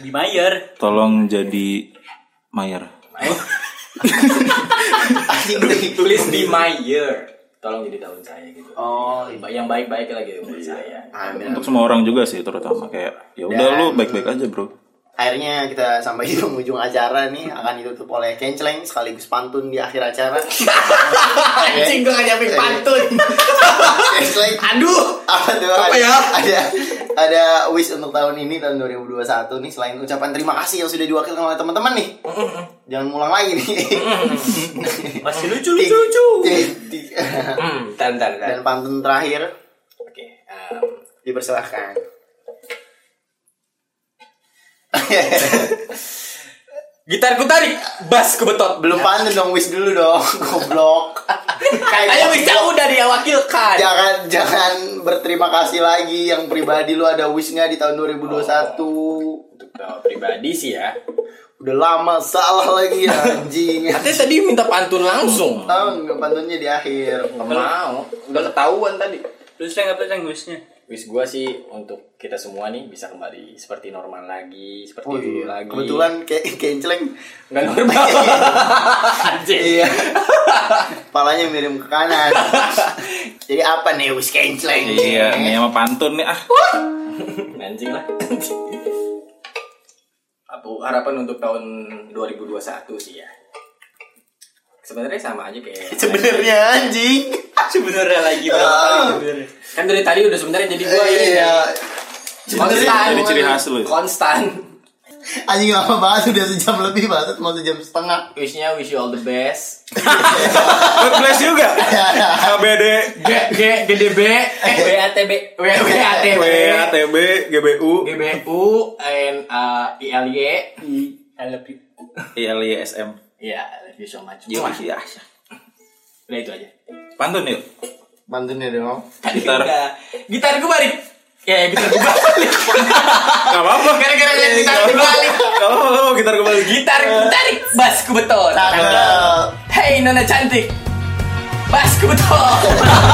Speaker 4: di Mayer
Speaker 6: tolong jadi mayer
Speaker 1: Anjing, Len.
Speaker 2: tulis di my year tolong jadi tahun saya gitu
Speaker 1: oh iya.
Speaker 2: yang baik-baik lagi buat saya
Speaker 1: amin
Speaker 6: untuk semua orang juga sih terutama kayak ya udah lu baik-baik aja bro
Speaker 1: Akhirnya kita sampai di penghujung acara nih akan ditutup oleh Kenceleng sekaligus pantun di akhir acara. Anjing gue gak nyampe pantun. Kenceleng. Aduh. Apa tuh? Apa ya? Ada ada wish untuk tahun ini tahun 2021 nih selain ucapan terima kasih yang sudah diwakilkan oleh teman-teman nih. Jangan ulang lagi nih.
Speaker 4: masih lucu
Speaker 1: Ting-
Speaker 4: lucu lucu
Speaker 1: ting- ting-
Speaker 2: hmm tan tan tan
Speaker 1: Dan pantun terakhir
Speaker 2: oke em,
Speaker 1: dipersilahkan.
Speaker 2: gitarku tarik bass ku betot
Speaker 1: Belum pantun dong wish dulu dong. Goblok. Kayak
Speaker 2: ayo
Speaker 1: goblok.
Speaker 2: bisa udah dia wakilkan
Speaker 1: jangan jangan berterima kasih lagi yang pribadi lu ada wish nggak di tahun 2021
Speaker 2: untuk uh, pribadi sih ya
Speaker 1: udah lama salah lagi anjing
Speaker 2: katanya tadi minta pantun langsung
Speaker 1: tahu nggak pantunnya di akhir
Speaker 2: Nggak mau udah ketahuan tadi
Speaker 4: terus saya nggak pesan wisnya
Speaker 2: Wis gua sih untuk kita semua nih bisa kembali seperti normal lagi, seperti
Speaker 1: Oh, iya.
Speaker 2: dulu lagi.
Speaker 1: kebetulan kayak kenceleng
Speaker 2: nggak normal.
Speaker 1: iya palanya miring ke kanan jadi apa nih wish kenceleng
Speaker 6: iya ini sama pantun nih ah
Speaker 2: Anjing lah. Apa harapan untuk tahun 2021 sih ya? Sebenarnya sama aja kayak
Speaker 1: sebenarnya anjing
Speaker 4: sebenarnya lagi
Speaker 2: Iya, Ah.
Speaker 4: berapa kali sebenarnya
Speaker 2: kan dari tadi udah sebenarnya jadi gua ini
Speaker 1: iya
Speaker 2: konstan.
Speaker 1: Sebenarnya-
Speaker 6: Jadi ciri khas lu ya?
Speaker 2: Konstan.
Speaker 1: anjing lama banget udah sejam lebih banget mau sejam setengah
Speaker 2: Wishnya wish you all the best.
Speaker 6: God bless juga KBD
Speaker 2: G G gede B W A T B W W A T B
Speaker 6: WATB GBU
Speaker 2: G B U N A I L Y.
Speaker 4: I love you
Speaker 6: ILISM
Speaker 2: Iya, I love you so much.
Speaker 6: Yuk,
Speaker 2: Muah.
Speaker 6: ya.
Speaker 2: Udah itu aja.
Speaker 6: pantun yuk
Speaker 1: pantunnya dong
Speaker 2: Tadi
Speaker 6: Gitar.
Speaker 2: udah. Gitar gue balik. Ya, ya, gitar gue balik.
Speaker 6: Gak apa-apa
Speaker 2: Gara-gara liat gitar gue balik.
Speaker 6: Gak apa-apa gitar kembali
Speaker 2: Gitar gue tarik, bass gue betul.
Speaker 1: Cakep.
Speaker 2: Hey, Nona cantik. Bass gue betul.